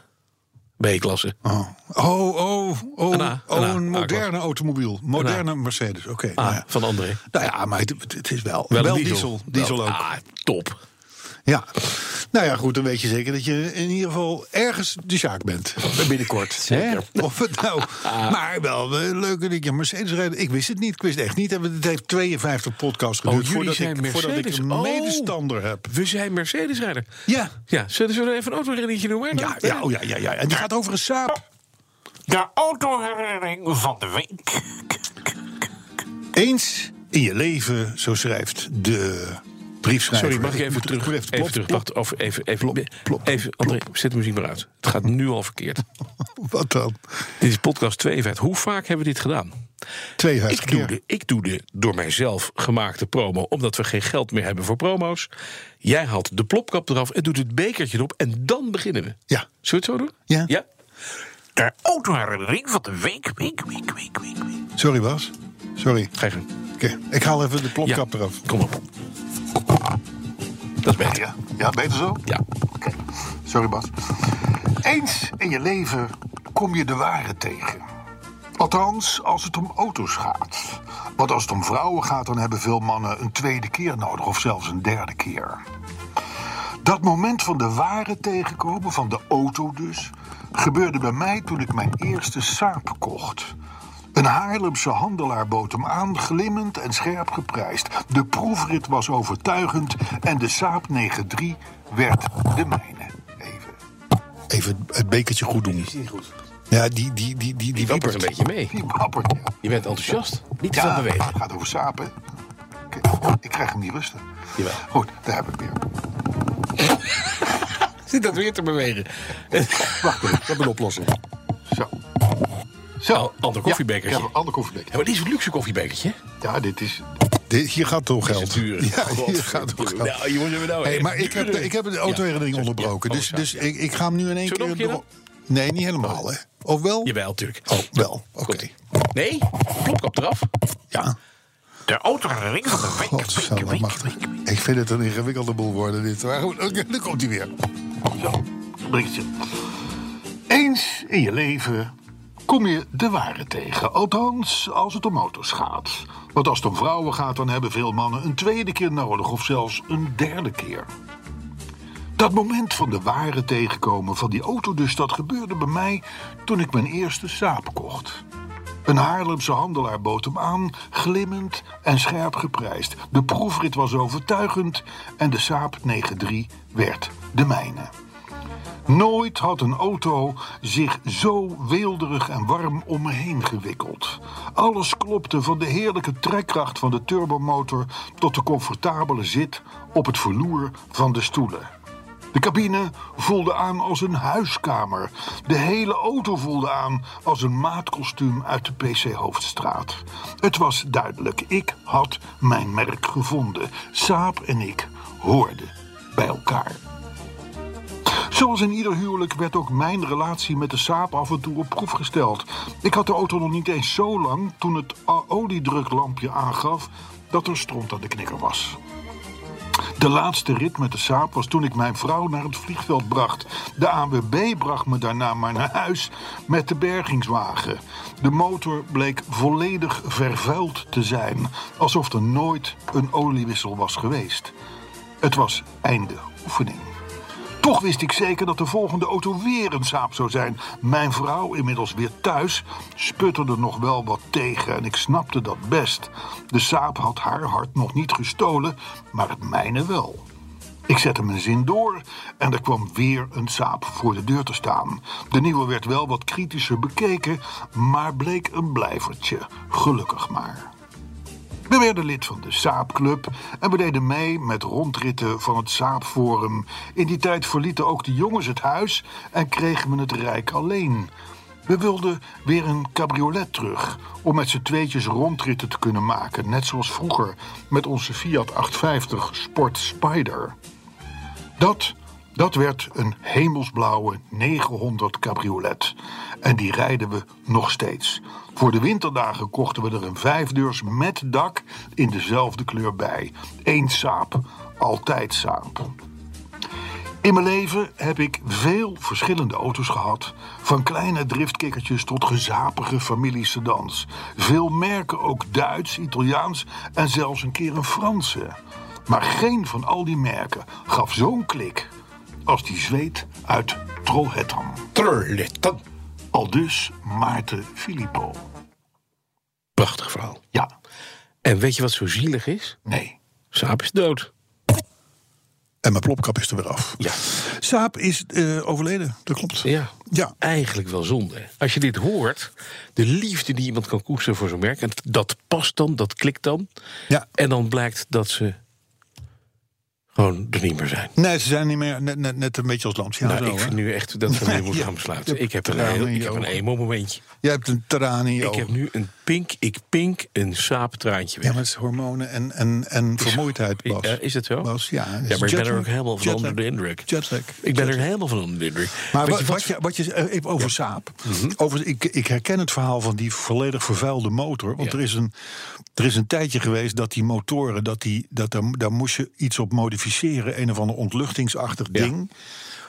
[SPEAKER 3] B-klasse.
[SPEAKER 2] Oh, oh, oh, oh,
[SPEAKER 3] Een A, Ah,
[SPEAKER 2] oh,
[SPEAKER 3] een A,
[SPEAKER 2] een moderne
[SPEAKER 3] akkoord.
[SPEAKER 2] automobiel. Moderne Mercedes, oké. nou,
[SPEAKER 3] Ah,
[SPEAKER 2] ja.
[SPEAKER 3] van André.
[SPEAKER 2] Nou ja, maar het, het is wel,
[SPEAKER 3] Wel
[SPEAKER 2] wel,
[SPEAKER 3] een
[SPEAKER 2] diesel. Diesel
[SPEAKER 3] Wel-
[SPEAKER 2] ook.
[SPEAKER 3] Ah, top.
[SPEAKER 2] Ja. Nou ja, goed, dan weet je zeker dat je in ieder geval ergens de zaak bent. Binnenkort. zeker. Of het nou.
[SPEAKER 3] Ah.
[SPEAKER 2] Maar wel eh, leuk dat ik een Mercedes rijd. Ik wist het niet. Ik wist het echt niet. En Het heeft 52 podcasts geduurd
[SPEAKER 3] Oh, jullie
[SPEAKER 2] voordat,
[SPEAKER 3] zijn
[SPEAKER 2] ik, voordat ik
[SPEAKER 3] Mercedes.
[SPEAKER 2] een
[SPEAKER 3] Oh.
[SPEAKER 2] medestander heb.
[SPEAKER 3] We zijn Mercedes-rijder.
[SPEAKER 2] Ja.
[SPEAKER 3] Ja, zullen zullen we even een autorinnetje noemen?
[SPEAKER 2] Ja, ja, oh ja, ja, ja. En die gaat over een saap.
[SPEAKER 4] De autoherinnering van de week.
[SPEAKER 2] Eens in je leven, zo schrijft de briefschrijver.
[SPEAKER 3] Sorry, mag ik even
[SPEAKER 2] moet-
[SPEAKER 3] terug?
[SPEAKER 2] moet
[SPEAKER 3] Even,
[SPEAKER 2] plop,
[SPEAKER 3] terug.
[SPEAKER 2] plop.
[SPEAKER 3] Wacht, of even, even,
[SPEAKER 2] Plop, plop,
[SPEAKER 3] even André, zet de muziek maar uit. Het gaat nu al
[SPEAKER 2] [laughs]
[SPEAKER 3] verkeerd.
[SPEAKER 2] Wat dan?
[SPEAKER 3] dit is podcast 52. Hoe vaak hebben we dit gedaan? Ik
[SPEAKER 2] 52
[SPEAKER 3] doe,
[SPEAKER 2] keer.
[SPEAKER 3] de, ik doe de door mijzelf gemaakte promo, omdat we geen geld meer hebben voor promo's. Jij haalt de plopkap eraf en doet het bekertje erop en dan beginnen we.
[SPEAKER 2] Ja.
[SPEAKER 3] Zullen we het zo doen?
[SPEAKER 2] Ja.
[SPEAKER 3] ja?
[SPEAKER 4] De autoherinnering van de week, week, week, week, week, week.
[SPEAKER 2] Sorry, Bas. Sorry.
[SPEAKER 3] Ga je gang.
[SPEAKER 2] Oké, Ik haal even de
[SPEAKER 3] Ja.
[SPEAKER 2] plopkap eraf.
[SPEAKER 3] Kom op. Dat is beter. Ja.
[SPEAKER 2] ja, beter zo? Sorry Bas. Eens in je leven kom je de ware tegen. Althans, als het om auto's gaat. Want als het om vrouwen gaat, dan hebben veel mannen een tweede keer nodig of zelfs een derde keer. Dat moment van de ware tegenkomen, van de auto dus, gebeurde bij mij toen ik mijn eerste Saab kocht. Een Haarlemse handelaar bood hem aan, glimmend en scherp geprijsd. De proefrit was overtuigend en de Saab 9-3 werd de mijne. Even even het bekertje goed doen.
[SPEAKER 3] Is niet goed.
[SPEAKER 2] Ja, die, die, die, die,
[SPEAKER 3] Die wappert een beetje mee.
[SPEAKER 2] Die wappert, ja.
[SPEAKER 3] Je bent enthousiast. Niet te veel
[SPEAKER 2] Ja,
[SPEAKER 3] bewegen.
[SPEAKER 2] Het gaat over sapen. Kijk, ik krijg hem niet rustig.
[SPEAKER 3] Jawel.
[SPEAKER 2] Goed, daar heb ik hem weer.
[SPEAKER 3] Zit [laughs] dat weer te bewegen?
[SPEAKER 2] Wacht even, ik heb een oplossing. Zo. Zo.
[SPEAKER 3] Oh, ander koffiebekertje.
[SPEAKER 2] Ja, ik heb een ander koffiebekertje.
[SPEAKER 3] Ja, maar dit is een luxe koffiebekertje.
[SPEAKER 2] Ja, dit is... Dit, hier gaat toch
[SPEAKER 3] Dit is
[SPEAKER 2] geld.
[SPEAKER 3] duur.
[SPEAKER 2] Ja, hier
[SPEAKER 3] Godverdomme.
[SPEAKER 2] gaat toch geld.
[SPEAKER 3] Nou, jongens, hebben we nou
[SPEAKER 2] Hey,
[SPEAKER 3] echt
[SPEAKER 2] maar ik heb,
[SPEAKER 3] duur.
[SPEAKER 2] ik heb de autoherinnering
[SPEAKER 3] Ja.
[SPEAKER 2] onderbroken.
[SPEAKER 3] Ja.
[SPEAKER 2] Dus,
[SPEAKER 3] Oh,
[SPEAKER 2] dus ik, ik ga hem nu in één
[SPEAKER 3] Zullen we
[SPEAKER 2] keer...
[SPEAKER 3] nog een
[SPEAKER 2] door- Nee, niet helemaal, hè? Of wel?
[SPEAKER 3] Jawel, natuurlijk.
[SPEAKER 2] Oh, wel. Oké.
[SPEAKER 3] Nee, plopkap eraf.
[SPEAKER 2] Ja.
[SPEAKER 4] De autoherinnering van de week.
[SPEAKER 2] God,
[SPEAKER 4] week,
[SPEAKER 2] zo
[SPEAKER 4] week,
[SPEAKER 2] machtig.
[SPEAKER 4] week, week.
[SPEAKER 2] Ik vind het een ingewikkelde boel worden, dit. Maar goed, [laughs] oké, dan komt hij weer.
[SPEAKER 4] Zo, drinkje.
[SPEAKER 2] Eens in je leven kom je de ware tegen. Althans, als het om auto's gaat. Want als het om vrouwen gaat, dan hebben veel mannen een tweede keer nodig. Of zelfs een derde keer. Dat moment van de ware tegenkomen van die auto dus, dat gebeurde bij mij toen ik mijn eerste saap kocht. Een Haarlemse handelaar bood hem aan, glimmend en scherp geprijsd. De proefrit was overtuigend en de saap 9-3 werd de mijne. Nooit had een auto zich zo weelderig en warm om me heen gewikkeld. Alles klopte van de heerlijke trekkracht van de turbomotor tot de comfortabele zit op het verloer van de stoelen. De cabine voelde aan als een huiskamer. De hele auto voelde aan als een maatkostuum uit de PC Hoofdstraat. Het was duidelijk, ik had mijn merk gevonden. Saap en ik hoorden bij elkaar. Zoals in ieder huwelijk werd ook mijn relatie met de saap af en toe op proef gesteld. Ik had de auto nog niet eens zo lang toen het a- oliedruklampje aangaf dat er stront aan de knikker was. De laatste rit met de saap was toen ik mijn vrouw naar het vliegveld bracht. De ANWB bracht me daarna maar naar huis met de bergingswagen. De motor bleek volledig vervuild te zijn, alsof er nooit een oliewissel was geweest. Het was einde oefening. Toch wist ik zeker dat de volgende auto weer een saap zou zijn. Mijn vrouw, inmiddels weer thuis, sputterde nog wel wat tegen en ik snapte dat best. De saap had haar hart nog niet gestolen, maar het mijne wel. Ik zette mijn zin door en er kwam weer een saap voor de deur te staan. De nieuwe werd wel wat kritischer bekeken, maar bleek een blijvertje. Gelukkig maar. We werden lid van de Saapclub en we deden mee met rondritten van het Saapforum. In die tijd verlieten ook de jongens het huis en kregen we het rijk alleen. We wilden weer een cabriolet terug om met z'n tweetjes rondritten te kunnen maken. Net zoals vroeger met onze Fiat 850 Sport Spider. Dat, dat werd een hemelsblauwe 900 cabriolet. En die rijden we nog steeds. Voor de winterdagen kochten we er een vijfdeurs met dak in dezelfde kleur bij. Eén saap, altijd saap. In mijn leven heb ik veel verschillende auto's gehad. Van kleine driftkikkertjes tot gezapige familiesedans. Veel merken ook Duits, Italiaans en zelfs een keer een Franse. Maar geen van al die merken gaf zo'n klik als die zweet uit Trollhättan.
[SPEAKER 3] Trulletten.
[SPEAKER 2] Aldus Maarten Filippo.
[SPEAKER 3] Prachtig verhaal.
[SPEAKER 2] Ja,
[SPEAKER 3] En weet je wat zo zielig is?
[SPEAKER 2] nee.
[SPEAKER 3] Saap is dood.
[SPEAKER 2] En mijn plopkap is er weer af.
[SPEAKER 3] Ja.
[SPEAKER 2] Saap is eh, overleden, dat klopt.
[SPEAKER 3] Ja.
[SPEAKER 2] Ja.
[SPEAKER 3] Eigenlijk wel zonde. Als je dit hoort, de liefde die iemand kan koesteren voor zo'n merk... en dat past dan, dat klikt dan.
[SPEAKER 2] ja.
[SPEAKER 3] En dan blijkt dat ze gewoon er niet meer zijn.
[SPEAKER 2] Nee, ze zijn niet meer net, net, net een beetje als lams. Ja,
[SPEAKER 3] Nou,
[SPEAKER 2] Nou, zo,
[SPEAKER 3] ik
[SPEAKER 2] hè?
[SPEAKER 3] vind nu echt dat we nu
[SPEAKER 2] Ja,
[SPEAKER 3] moeten gaan
[SPEAKER 2] [laughs] je
[SPEAKER 3] besluiten. Ik
[SPEAKER 2] hebt
[SPEAKER 3] heb er
[SPEAKER 2] tranen
[SPEAKER 3] een, heel-
[SPEAKER 2] in je
[SPEAKER 3] ik heb een
[SPEAKER 2] ogen.
[SPEAKER 3] emo momentje.
[SPEAKER 2] Jij hebt een traan in je
[SPEAKER 3] Ik
[SPEAKER 2] ogen.
[SPEAKER 3] heb nu een pink, ik pink een saaptraantje
[SPEAKER 2] Ja,
[SPEAKER 3] weg.
[SPEAKER 2] maar het is hormonen en, en, en vermoeidheid, Bas.
[SPEAKER 3] Ja, is dat zo?
[SPEAKER 2] Bas, ja, het
[SPEAKER 3] Ja,
[SPEAKER 2] is
[SPEAKER 3] maar ik ben er
[SPEAKER 2] jetlag.
[SPEAKER 3] ook helemaal van
[SPEAKER 2] Jetlag.
[SPEAKER 3] onder de indruk.
[SPEAKER 2] Jetlag.
[SPEAKER 3] Ik ben er helemaal van onder de indruk.
[SPEAKER 2] Maar
[SPEAKER 3] Weet
[SPEAKER 2] wat,
[SPEAKER 3] je Mhm.
[SPEAKER 2] wat, je, wat je eh, even over Saab. Over, ik, ik herken het verhaal van die volledig vervuilde motor. Want
[SPEAKER 3] Ja.
[SPEAKER 2] er, is een, er is een tijdje geweest dat die motoren, dat die, dat daar, daar moest je iets op modificeren. Een of ander ontluchtingsachtig
[SPEAKER 3] Ja.
[SPEAKER 2] ding.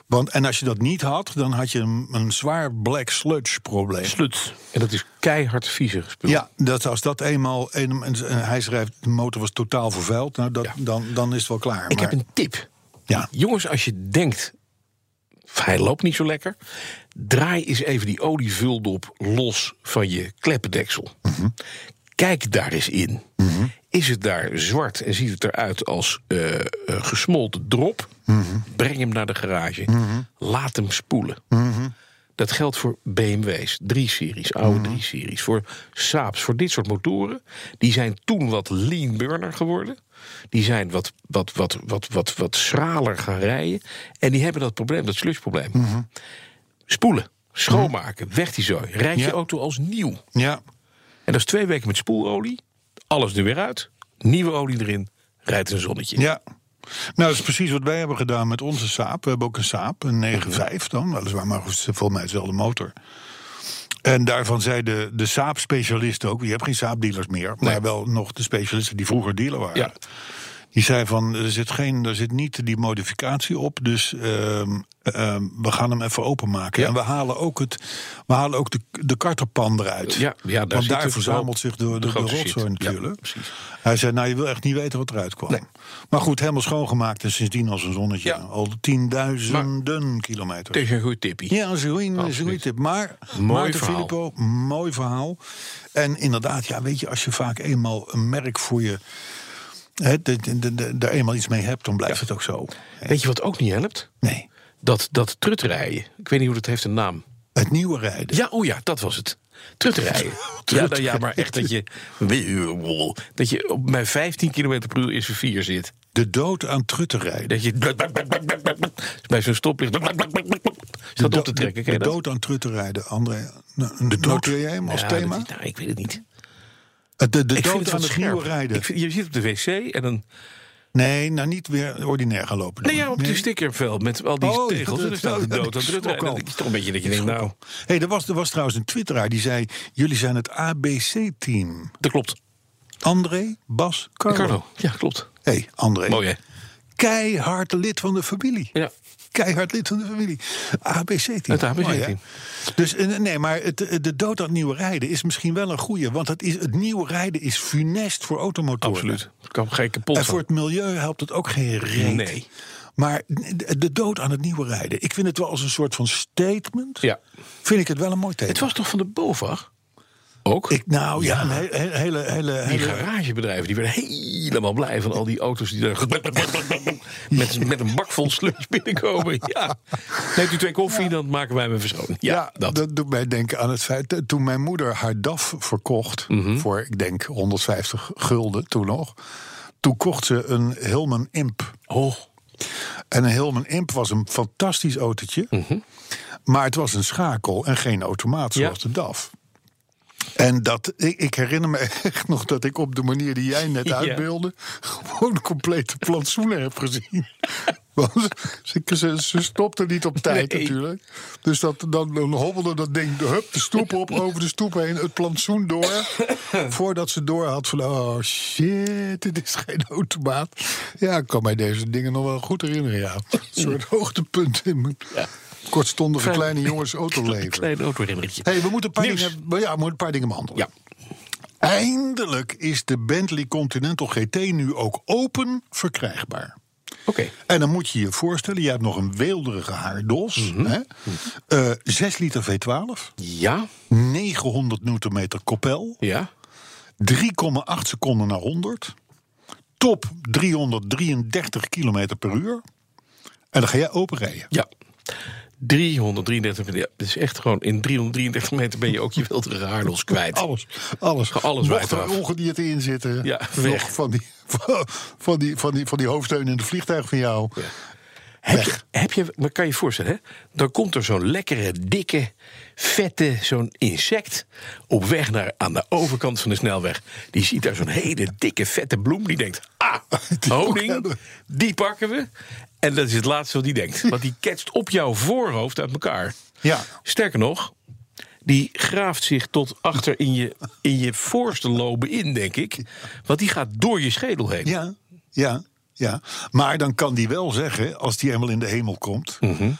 [SPEAKER 2] Want, en als je dat niet had, dan had je een, een zwaar black sludge probleem.
[SPEAKER 3] Slut. En dat is keihard viezig spul.
[SPEAKER 2] Ja, dat als dat eenmaal. een- en hij schrijft, de motor was totaal vervuild. Nou, dat,
[SPEAKER 3] Ja.
[SPEAKER 2] dan, dan is het wel klaar.
[SPEAKER 3] Ik
[SPEAKER 2] maar,
[SPEAKER 3] heb een tip.
[SPEAKER 2] ja.
[SPEAKER 3] Jongens, als je denkt, hij loopt niet zo lekker... draai eens even die olievuldop los van je kleppendeksel. Kijk daar eens in. Is het daar zwart en ziet het eruit als eh, eh, gesmolten drop? Breng hem naar de garage. Laat hem spoelen. Dat geldt voor BMW's, drie series, oude
[SPEAKER 2] Mhm.
[SPEAKER 3] drie series. Voor Saabs, voor dit soort motoren. Die zijn toen wat lean burner geworden. Die zijn wat, wat, wat, wat, wat, wat schraler gaan rijden. En die hebben dat probleem, dat slushprobleem.
[SPEAKER 2] Mhm.
[SPEAKER 3] Spoelen, schoonmaken, weg die zooi. Rijd
[SPEAKER 2] Ja.
[SPEAKER 3] je auto als nieuw.
[SPEAKER 2] Ja.
[SPEAKER 3] En dat is twee weken met spoelolie. Alles er weer uit. Nieuwe olie erin. Rijdt een zonnetje.
[SPEAKER 2] Ja. Nou, dat is precies wat wij hebben gedaan met onze Saab. We hebben ook een Saab, een 9.5 dan. Weliswaar, maar goed, het is volgens mij dezelfde motor. En daarvan zei de, de Saab-specialisten ook... je hebt geen Saab-dealers meer... maar
[SPEAKER 3] Nee.
[SPEAKER 2] wel nog de specialisten die vroeger dealer waren.
[SPEAKER 3] Ja.
[SPEAKER 2] Die zei van, er zit, geen, er zit niet die modificatie op... dus ehm, ehm, we gaan hem even openmaken.
[SPEAKER 3] Ja.
[SPEAKER 2] En we halen ook, het, we halen ook de, de karterpan eruit.
[SPEAKER 3] Ja, ja, daar
[SPEAKER 2] Want
[SPEAKER 3] zit
[SPEAKER 2] daar
[SPEAKER 3] het
[SPEAKER 2] verzamelt
[SPEAKER 3] wel
[SPEAKER 2] zich de, de,
[SPEAKER 3] de
[SPEAKER 2] de
[SPEAKER 3] grote shit.
[SPEAKER 2] rotzooi
[SPEAKER 3] Ja,
[SPEAKER 2] natuurlijk.
[SPEAKER 3] precies.
[SPEAKER 2] Hij zei, nou, je wil echt niet weten wat eruit kwam.
[SPEAKER 3] Nee.
[SPEAKER 2] Maar goed, helemaal schoongemaakt en sindsdien als een zonnetje.
[SPEAKER 3] Ja.
[SPEAKER 2] Al tienduizenden kilometer.
[SPEAKER 3] Het is een goed tipje.
[SPEAKER 2] Ja, dat is een goeie- dat is een goeie
[SPEAKER 3] Absoluut.
[SPEAKER 2] tip. Maar
[SPEAKER 3] Oh, Mooi
[SPEAKER 2] Maarten
[SPEAKER 3] verhaal.
[SPEAKER 2] Filippo, mooi verhaal. En inderdaad, ja, weet je, als je vaak eenmaal een merk voor je... Hè, de- de- de- de- daar eenmaal iets mee hebt, dan blijft het ook zo.
[SPEAKER 3] Weet je wat ook niet helpt?
[SPEAKER 2] Nee,
[SPEAKER 3] Dat, dat trutrijden. Ik weet niet hoe dat heeft een naam.
[SPEAKER 2] het nieuwe rijden.
[SPEAKER 3] Ja, oh ja, dat was het.
[SPEAKER 2] [laughs]
[SPEAKER 3] Trutrijden. ja, nou ja, maar echt dat je... Dat je op mijn 15 km per uur is vier zit.
[SPEAKER 2] De dood aan trutten rijden.
[SPEAKER 3] Dat je... Bij zo'n stoplicht... Staat op
[SPEAKER 2] Do-
[SPEAKER 3] te trekken.
[SPEAKER 2] de,
[SPEAKER 3] Ken je dat?
[SPEAKER 2] dood aan trutten rijden, André. Nou, noteer jij hem als
[SPEAKER 3] Ja,
[SPEAKER 2] thema?
[SPEAKER 3] dat- nou, ik weet het niet.
[SPEAKER 2] De, de
[SPEAKER 3] ik vind
[SPEAKER 2] dood
[SPEAKER 3] het
[SPEAKER 2] aan
[SPEAKER 3] wat
[SPEAKER 2] het
[SPEAKER 3] scherp.
[SPEAKER 2] nieuwe rijden.
[SPEAKER 3] Ik vind- je zit op de wc en dan...
[SPEAKER 2] Nee, nou niet weer ordinair gaan lopen.
[SPEAKER 3] Nee, ja, op die stickerveld met al die
[SPEAKER 2] Oh,
[SPEAKER 3] tegels. En
[SPEAKER 2] dat-
[SPEAKER 3] er staat de
[SPEAKER 2] dat-
[SPEAKER 3] dood aan
[SPEAKER 2] ik
[SPEAKER 3] het
[SPEAKER 2] schrok
[SPEAKER 3] En
[SPEAKER 2] al.
[SPEAKER 3] dat is toch een beetje dat je denkt, nou,
[SPEAKER 2] hey, er, was, er was trouwens een twitteraar die zei... jullie zijn het ABC-team.
[SPEAKER 3] dat klopt.
[SPEAKER 2] André, Bas, Carlo.
[SPEAKER 3] Carlo, ja, klopt.
[SPEAKER 2] Hé, hey, André.
[SPEAKER 3] Mooi, hè?
[SPEAKER 2] Keihard lid van de familie.
[SPEAKER 3] Ja.
[SPEAKER 2] Keihard lid van de familie. ABC-team.
[SPEAKER 3] Het ABC
[SPEAKER 2] Mooi, hè?
[SPEAKER 3] team.
[SPEAKER 2] Dus eh, nee, maar het, eh, de dood aan het nieuwe rijden is misschien wel een goeie. Want het, is, het nieuwe rijden is funest voor automotoren.
[SPEAKER 3] Absoluut. Ik kan geen kapot
[SPEAKER 2] En voor het milieu helpt het ook geen reet.
[SPEAKER 3] Nee.
[SPEAKER 2] Maar de- de dood aan het nieuwe rijden. Ik vind het wel als een soort van statement.
[SPEAKER 3] Ja.
[SPEAKER 2] Vind ik het wel een mooi thema.
[SPEAKER 3] Het was toch van de BOVAG? Ook?
[SPEAKER 2] ik, nou ja, een he- he- hele, hele,
[SPEAKER 3] die
[SPEAKER 2] hele,
[SPEAKER 3] garagebedrijven die werden helemaal blij van al die auto's die daar [laughs] met, met een bak vol sludge binnenkomen. Ja. Neemt u twee koffie, dan maken wij hem even schoon. Ja, dat.
[SPEAKER 2] doet mij denken aan het feit. dat Toen mijn moeder haar DAF verkocht.
[SPEAKER 3] Mhm.
[SPEAKER 2] voor, ik denk, 150 gulden toen nog. Toen kocht ze een Hilman Imp.
[SPEAKER 3] Oh,
[SPEAKER 2] En een Hilman Imp was een fantastisch autootje. Maar het was een schakel en geen automaat
[SPEAKER 3] Mhm. Ja.
[SPEAKER 2] zoals de DAF. En dat, ik, ik herinner me [laughs] echt nog dat ik op de manier die jij net
[SPEAKER 3] Ja.
[SPEAKER 2] uitbeelde... gewoon complete plantsoenen heb gezien. [laughs] Want ze, ze, ze stopte niet op tijd
[SPEAKER 3] Nee.
[SPEAKER 2] natuurlijk. Dus dat, dan, dan hobbelde dat ding de, hup, de stoep op, over de stoep heen... het plantsoen door, [laughs] voordat ze door had van... oh shit, dit is geen automaat. Ja, ik kan mij deze dingen nog wel goed herinneren, ja. Een soort hoogtepunt in mijn kortstondige kleine jongens autoleven.
[SPEAKER 3] klein autoherinnetje.
[SPEAKER 2] [laughs] Hey, we moeten een paar
[SPEAKER 3] Nieuws.
[SPEAKER 2] dingen, ja, we moeten een paar dingen behandelen.
[SPEAKER 3] Ja.
[SPEAKER 2] Eindelijk is de Bentley Continental GT nu ook open verkrijgbaar.
[SPEAKER 3] Oké.
[SPEAKER 2] En dan moet je je voorstellen, je hebt nog een weelderige haardos.
[SPEAKER 3] Mhm.
[SPEAKER 2] hè? Eh, 6 liter V12,
[SPEAKER 3] Ja.
[SPEAKER 2] 900 newtonmeter koppel,
[SPEAKER 3] Ja.
[SPEAKER 2] 3,8 seconden naar 100. Top 333 km per uur. En dan ga jij open rijden.
[SPEAKER 3] Ja. 333 meter. Ja, dus echt gewoon in 333 meter ben je ook je wilde haarlos kwijt.
[SPEAKER 2] Alles, alles.
[SPEAKER 3] Alles
[SPEAKER 2] Mocht
[SPEAKER 3] wijkt
[SPEAKER 2] er
[SPEAKER 3] eraf.
[SPEAKER 2] ongedierte in zitten.
[SPEAKER 3] Ja,
[SPEAKER 2] nog
[SPEAKER 3] weg.
[SPEAKER 2] Van die, [laughs] van, die, van, die, van die hoofdsteun in het vliegtuig van jou.
[SPEAKER 3] heb je, heb je, maar kan je je voorstellen, hè? dan komt er zo'n lekkere, dikke, vette, zo'n insect op weg naar aan de overkant van de snelweg. Die ziet daar zo'n hele dikke, vette bloem. Die denkt, ah,
[SPEAKER 2] [laughs] Die wil ik
[SPEAKER 3] honing,
[SPEAKER 2] hebben.
[SPEAKER 3] die pakken we. En dat is het laatste wat die denkt. Want die ketst op jouw voorhoofd uit elkaar.
[SPEAKER 2] Ja.
[SPEAKER 3] Sterker nog, die graaft zich tot achter in je, in je voorste loben in, denk ik. Want die gaat door je schedel heen.
[SPEAKER 2] Ja, ja, ja. Maar dan kan die wel zeggen, als die eenmaal in de hemel komt...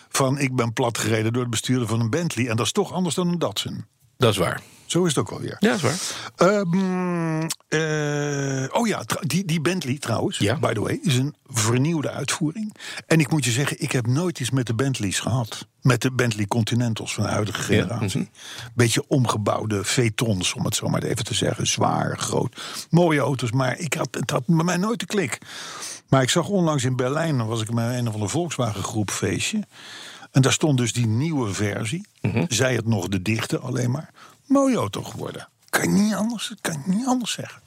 [SPEAKER 2] van ik ben platgereden door het besturen van een Bentley. En dat is toch anders dan een Datsun.
[SPEAKER 3] Dat is waar.
[SPEAKER 2] Zo is het ook alweer.
[SPEAKER 3] Ja, dat is waar.
[SPEAKER 2] Ehm, eh, oh ja, tr- die, die Bentley trouwens,
[SPEAKER 3] Ja.
[SPEAKER 2] by the way, is een vernieuwde uitvoering. En ik moet je zeggen, ik heb nooit iets met de Bentleys gehad. Met de Bentley Continentals van de huidige generatie. Beetje omgebouwde vetons, om het zo maar even te zeggen. Zwaar, groot. Mooie auto's, maar ik had, het had bij mij nooit de klik. Maar ik zag onlangs in Berlijn, dan was ik met een of andere Volkswagen groep feestje. En daar stond dus die nieuwe versie. Zij het nog de dichte alleen maar. Mooie auto geworden. Kan je niet anders, kan je niet anders zeggen.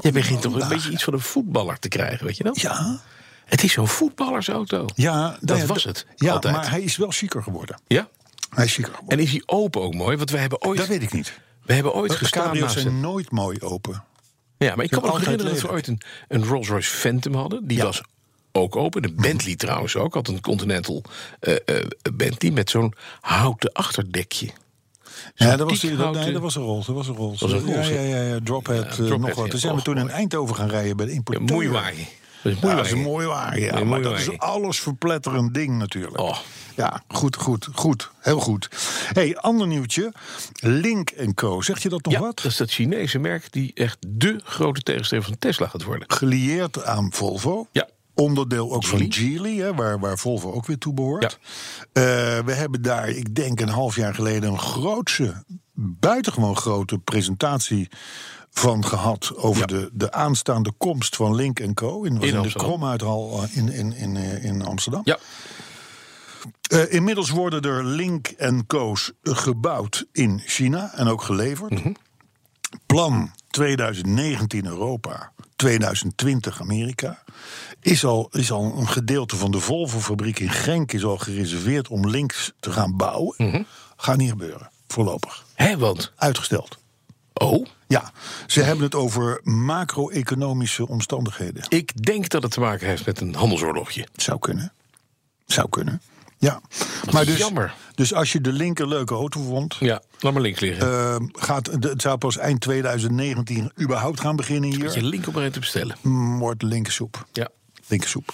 [SPEAKER 3] Je begint toch een beetje iets van een voetballer te krijgen, weet je dat?
[SPEAKER 2] Ja,
[SPEAKER 3] Het is zo'n voetballersauto.
[SPEAKER 2] ja nou
[SPEAKER 3] Dat
[SPEAKER 2] ja,
[SPEAKER 3] was
[SPEAKER 2] d-
[SPEAKER 3] het,
[SPEAKER 2] Ja,
[SPEAKER 3] altijd.
[SPEAKER 2] maar hij is wel chiquer geworden.
[SPEAKER 3] Ja?
[SPEAKER 2] Hij is chiquer geworden.
[SPEAKER 3] En is die open ook mooi? Want we hebben ooit,
[SPEAKER 2] dat weet ik niet.
[SPEAKER 3] we hebben ooit
[SPEAKER 2] De
[SPEAKER 3] gestaan
[SPEAKER 2] cabrio's
[SPEAKER 3] naast een-
[SPEAKER 2] zijn nooit mooi open.
[SPEAKER 3] Ja, maar ik kan me nog
[SPEAKER 2] altijd
[SPEAKER 3] herinneren dat we ooit een, een Rolls Royce Phantom hadden. Die
[SPEAKER 2] Ja.
[SPEAKER 3] was ook open. De Bentley trouwens ook. Had een Continental eh, eh, Bentley met zo'n houten achterdekje.
[SPEAKER 2] Ja, dat was,
[SPEAKER 3] diek
[SPEAKER 2] die- dat,
[SPEAKER 3] houten-
[SPEAKER 2] nee, dat was een Rolls. Dat was een Rolls.
[SPEAKER 3] Dat was een Rolls,
[SPEAKER 2] ja, ja, ja, ja, Drophead, eh,
[SPEAKER 3] Drophead,
[SPEAKER 2] nog wat.
[SPEAKER 3] ja.
[SPEAKER 2] Toen zijn we
[SPEAKER 3] Och,
[SPEAKER 2] toen in
[SPEAKER 3] mooi.
[SPEAKER 2] Eindhoven gaan rijden bij de
[SPEAKER 3] Een
[SPEAKER 2] importeur.
[SPEAKER 3] moeiwagen. Dat is een
[SPEAKER 2] Ja, dat is een mooie
[SPEAKER 3] moeiwagen.
[SPEAKER 2] wagen, ja.
[SPEAKER 3] Een
[SPEAKER 2] maar
[SPEAKER 3] mooie
[SPEAKER 2] dat is
[SPEAKER 3] wagen.
[SPEAKER 2] alles verpletterend ding natuurlijk.
[SPEAKER 3] Oh.
[SPEAKER 2] Ja, goed, goed, goed. Heel goed. hey, ander nieuwtje. Link Co. Zegt je dat nog
[SPEAKER 3] Ja,
[SPEAKER 2] wat?
[SPEAKER 3] dat is dat Chinese merk die echt dé grote tegenstrever van Tesla gaat worden.
[SPEAKER 2] gelieerd aan Volvo.
[SPEAKER 3] Ja.
[SPEAKER 2] Onderdeel ook
[SPEAKER 3] Geely.
[SPEAKER 2] van Geely, hè, waar, waar Volvo ook weer toe behoort. Eh, we hebben daar, ik denk een half jaar geleden, een grootse, buitengewoon grote presentatie van gehad over
[SPEAKER 3] Ja.
[SPEAKER 2] de, de aanstaande komst van Link Co. In, was in, de
[SPEAKER 3] Amsterdam.
[SPEAKER 2] Kromuithal eh, in, in, in, eh, in Amsterdam.
[SPEAKER 3] Ja,
[SPEAKER 2] Eh, inmiddels worden er Link Co's gebouwd in China en ook geleverd.
[SPEAKER 3] Mhm.
[SPEAKER 2] Plan 2019 Europa, 2020 Amerika. Is al, is al een gedeelte van de Volvo-fabriek in Genk is al gereserveerd om links te gaan bouwen.
[SPEAKER 3] Mhm.
[SPEAKER 2] Gaat niet gebeuren, voorlopig.
[SPEAKER 3] hè, want...
[SPEAKER 2] Uitgesteld.
[SPEAKER 3] Oh,
[SPEAKER 2] Ja, ze hebben het over macro-economische omstandigheden.
[SPEAKER 3] ik denk dat het te maken heeft met een handelsoorlogje.
[SPEAKER 2] Zou kunnen. Zou kunnen. Ja.
[SPEAKER 3] is jammer.
[SPEAKER 2] Dus als je de linker leuke auto vond,
[SPEAKER 3] Ja, laat maar links liggen.
[SPEAKER 2] Eh, gaat, de- het zou pas eind 2019 überhaupt gaan beginnen
[SPEAKER 3] Met je
[SPEAKER 2] hier.
[SPEAKER 3] link op een rij te bestellen.
[SPEAKER 2] Mm, Wordt linkersoep.
[SPEAKER 3] Ja.
[SPEAKER 2] Linkersoep.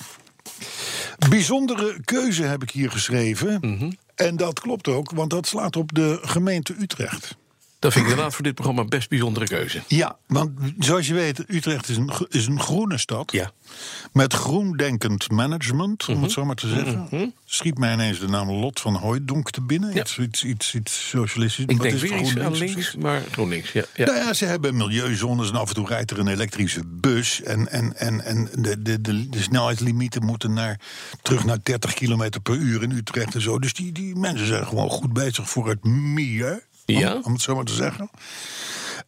[SPEAKER 2] Bijzondere keuze heb ik hier geschreven.
[SPEAKER 3] Mhm.
[SPEAKER 2] En dat klopt ook, want dat slaat op de gemeente Utrecht.
[SPEAKER 3] Dat vind ik inderdaad voor dit programma een best bijzondere keuze.
[SPEAKER 2] Ja, want zoals je weet, Utrecht is een, gro- is een groene stad.
[SPEAKER 3] Ja. Mhm.
[SPEAKER 2] Met groendenkend management, om het zo maar te zeggen. Schiet mij ineens de naam Lot van Hooijdonk te binnen.
[SPEAKER 3] Ja.
[SPEAKER 2] Iets, iets, iets, iets socialistisch.
[SPEAKER 3] Ik
[SPEAKER 2] Wat
[SPEAKER 3] denk
[SPEAKER 2] is het?
[SPEAKER 3] weer iets aan
[SPEAKER 2] GroenLinks of
[SPEAKER 3] links, maar GroenLinks. Ja, ja.
[SPEAKER 2] Nou ja, ze hebben milieuzones en af en toe rijdt er een elektrische bus. En, en, en, en de, de, de, de snelheidslimieten moeten naar, terug naar 30 km per uur in Utrecht en zo. Dus die, die mensen zijn gewoon goed bezig voor het milieu.
[SPEAKER 3] Ja.
[SPEAKER 2] Om, om het zo maar te zeggen.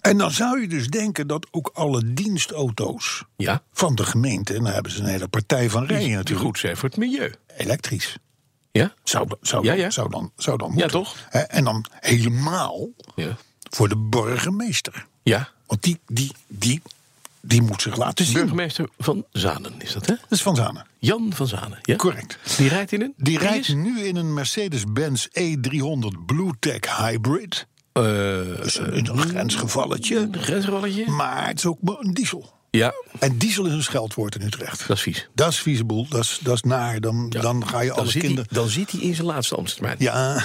[SPEAKER 2] En dan zou je dus denken dat ook alle dienstauto's
[SPEAKER 3] ja.
[SPEAKER 2] van de gemeente... en daar hebben ze een hele partij van rijden
[SPEAKER 3] Die
[SPEAKER 2] natuurlijk,
[SPEAKER 3] goed zijn voor het milieu.
[SPEAKER 2] elektrisch.
[SPEAKER 3] Ja?
[SPEAKER 2] Zou, zou,
[SPEAKER 3] Ja, ja.
[SPEAKER 2] zou dan, zou dan moeten.
[SPEAKER 3] toch?
[SPEAKER 2] Hè, En dan helemaal
[SPEAKER 3] Ja.
[SPEAKER 2] voor de burgemeester.
[SPEAKER 3] ja.
[SPEAKER 2] Want die, die, die, Dus die moet zich laten zien.
[SPEAKER 3] Burgemeester van Zanen is dat, hè?
[SPEAKER 2] Dat is Van Zanen.
[SPEAKER 3] Jan van Zanen. Ja?
[SPEAKER 2] Correct.
[SPEAKER 3] Die rijdt in een?
[SPEAKER 2] Die rijdt
[SPEAKER 3] is,
[SPEAKER 2] nu in een Mercedes-Benz E E300 Bluetech Hybrid.
[SPEAKER 3] eh,
[SPEAKER 2] Dat is een, een grensgevalletje.
[SPEAKER 3] een grensrolletje.
[SPEAKER 2] Maar het is ook maar een diesel.
[SPEAKER 3] Ja,
[SPEAKER 2] En diesel is een scheldwoord in Utrecht.
[SPEAKER 3] dat is vies.
[SPEAKER 2] Dat is vieze boel. Dat is, dat is naar. Dan,
[SPEAKER 3] Ja.
[SPEAKER 2] dan ga je
[SPEAKER 3] dan
[SPEAKER 2] alle
[SPEAKER 3] zit
[SPEAKER 2] kinderen...
[SPEAKER 3] Hij, dan zit hij in zijn laatste ambtstermijn.
[SPEAKER 2] Ja.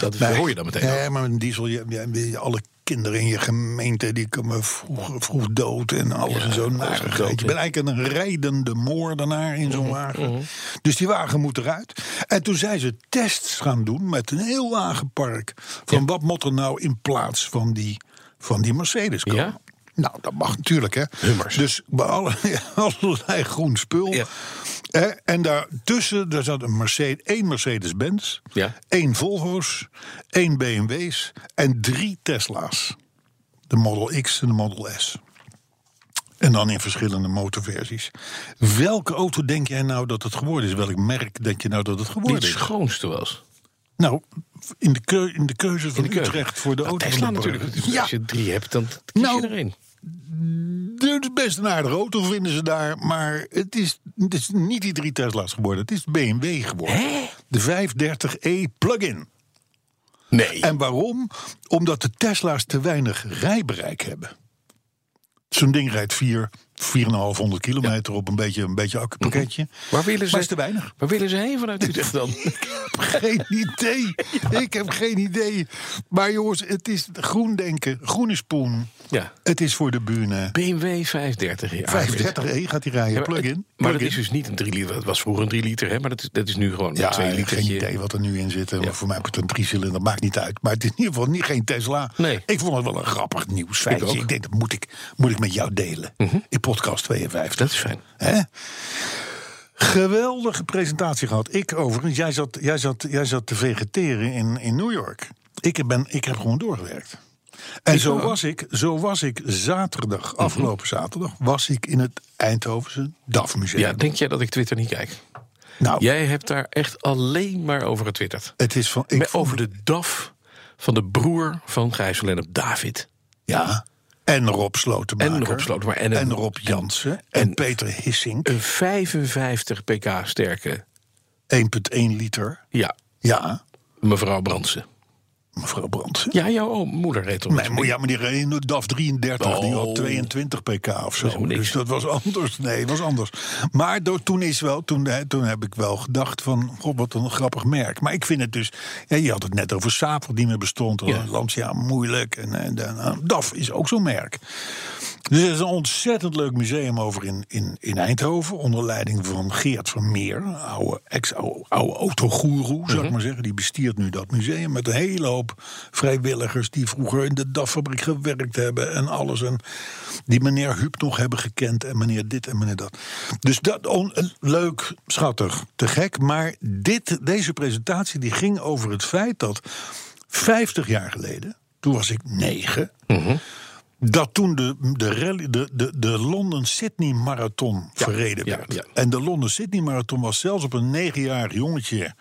[SPEAKER 3] Dat
[SPEAKER 2] Nee.
[SPEAKER 3] hoor je dan meteen.
[SPEAKER 2] Nee, maar met een diesel, je, je- je- alle kinderen in je gemeente... die komen vroeg, vroeg dood en alles
[SPEAKER 3] Ja,
[SPEAKER 2] en zo.
[SPEAKER 3] alles
[SPEAKER 2] narigheid.
[SPEAKER 3] dood,
[SPEAKER 2] je
[SPEAKER 3] hè.
[SPEAKER 2] bent eigenlijk een rijdende moordenaar in
[SPEAKER 3] Mhm,
[SPEAKER 2] zo'n wagen. Dus die wagen moet eruit. En toen zijn ze tests gaan doen met een heel wagenpark... van wat moet er nou in plaats van die, van die Mercedes komen.
[SPEAKER 3] Ja?
[SPEAKER 2] Nou, dat mag natuurlijk, hè.
[SPEAKER 3] Hummers.
[SPEAKER 2] Dus bij alle, [laughs] allerlei groen spul.
[SPEAKER 3] Ja.
[SPEAKER 2] Hè, en daartussen daar zat een Mercedes, één Mercedes-Benz,
[SPEAKER 3] Ja.
[SPEAKER 2] één Volvo's, één BMW's en drie Tesla's. De Model X en de Model S. En dan in verschillende motorversies. Welke auto denk jij nou dat het geworden is? Welk merk denk je nou dat het
[SPEAKER 3] Die
[SPEAKER 2] geworden
[SPEAKER 3] het
[SPEAKER 2] is?
[SPEAKER 3] schoonste was.
[SPEAKER 2] Nou, in de, keu- in de keuze van
[SPEAKER 3] In de keuken.
[SPEAKER 2] Utrecht voor de
[SPEAKER 3] Nou,
[SPEAKER 2] auto.
[SPEAKER 3] Tesla
[SPEAKER 2] van de burger.
[SPEAKER 3] natuurlijk. Dus Als
[SPEAKER 2] Ja,
[SPEAKER 3] je drie hebt, dan kies
[SPEAKER 2] Nou.
[SPEAKER 3] je er één.
[SPEAKER 2] het is best een aardige auto vinden ze daar. Maar het is, het is niet die drie Tesla's geworden. Het is de BMW geworden. De 530e plug-in.
[SPEAKER 3] Nee.
[SPEAKER 2] En waarom? Omdat de Tesla's te weinig rijbereik hebben. Zo'n ding rijdt 4, 4,500 kilometer op een beetje een beetje
[SPEAKER 3] [laughs]
[SPEAKER 2] akkerpakketje.
[SPEAKER 3] Waar willen ze,
[SPEAKER 2] Maar is te weinig.
[SPEAKER 3] Waar willen ze heen vanuit Utrecht dan?
[SPEAKER 2] [laughs] Geen idee. Ik heb geen idee. Maar jongens, het is groen denken. Groene spoen.
[SPEAKER 3] ja.
[SPEAKER 2] Het is voor de buren.
[SPEAKER 3] BMW 530. Ja,
[SPEAKER 2] 35 e gaat hij rijden. Plug-in.
[SPEAKER 3] Maar dat
[SPEAKER 2] Plug-in.
[SPEAKER 3] is dus niet een 3 liter. Dat was vroeger een 3 liter, hè? maar dat is, dat is nu gewoon
[SPEAKER 2] Ja,
[SPEAKER 3] een 2
[SPEAKER 2] ik heb
[SPEAKER 3] liter.
[SPEAKER 2] geen idee wat er nu in zit. Maar
[SPEAKER 3] Ja.
[SPEAKER 2] Voor mij wordt het een driecilinder, maakt niet uit. Maar het is in ieder geval niet, geen Tesla.
[SPEAKER 3] Nee.
[SPEAKER 2] Ik vond het wel een grappig nieuwsfeitje.
[SPEAKER 3] ook.
[SPEAKER 2] Ik, denk, dat moet ik, moet ik met jou delen. In podcast 52.
[SPEAKER 3] Dat is fijn.
[SPEAKER 2] Hè? Geweldige presentatie gehad. Ik overigens, jij zat, jij zat, jij zat te vegeteren in, in New York. Ik, ben, ik heb gewoon doorgewerkt. En zo was, ik, Mhm. zo was ik zaterdag, afgelopen zaterdag, was ik in het Eindhovense DAF Museum.
[SPEAKER 3] Ja, denk jij dat ik Twitter niet kijk?
[SPEAKER 2] nou,
[SPEAKER 3] Jij hebt daar echt alleen maar over getwitterd.
[SPEAKER 2] het is van. Ik
[SPEAKER 3] Met-
[SPEAKER 2] vond
[SPEAKER 3] over de DAF van de broer van Gijs van Lennep, David.
[SPEAKER 2] Ja. En Rob Slotemaker.
[SPEAKER 3] En Rob Slotemaker. En
[SPEAKER 2] En,
[SPEAKER 3] een-
[SPEAKER 2] Rob Jansen. En, Peter Hissing. 1,1
[SPEAKER 3] Een 55 pk sterke,
[SPEAKER 2] liter.
[SPEAKER 3] ja,
[SPEAKER 2] Ja,
[SPEAKER 3] mevrouw Brandsen.
[SPEAKER 2] mevrouw Brandsen.
[SPEAKER 3] Ja, jouw oom, moeder heet ons.
[SPEAKER 2] Mijn moeder, ja, maar die reed in de DAF 33, die
[SPEAKER 3] Oh.
[SPEAKER 2] had 22 pk of
[SPEAKER 3] Dat is
[SPEAKER 2] zo.
[SPEAKER 3] niks.
[SPEAKER 2] Dus dat was anders. Nee, het was anders. Maar door, toen, is wel, toen, hè, toen heb ik wel gedacht van, god, wat een grappig merk. Maar ik vind het dus, ja, je had het [laughs] net over Sapel die meer bestond.
[SPEAKER 3] Ja.
[SPEAKER 2] Ja. Lancia, moeilijk. En, en, en, nou, DAF is ook zo'n merk. Dus er is een ontzettend leuk museum over in, in, in Eindhoven. Onder leiding van Geert Vermeer, een oude, ex-oude oude autogoeroe, zou ik maar zeggen. Die bestiert nu dat museum met een hele hoop vrijwilligers... die vroeger in de DAF-fabriek gewerkt hebben en alles. En die meneer Huub nog hebben gekend en meneer dit en meneer dat. Dus dat on- leuk, schattig, te gek. Maar dit, deze presentatie die ging over het feit dat 50 jaar geleden... toen was ik negen dat toen de, de, rally, de, de, de London-Sydney Marathon verreden
[SPEAKER 3] ja,
[SPEAKER 2] werd.
[SPEAKER 3] ja.
[SPEAKER 2] En de London-Sydney Marathon was zelfs op een negenjarig jongetje...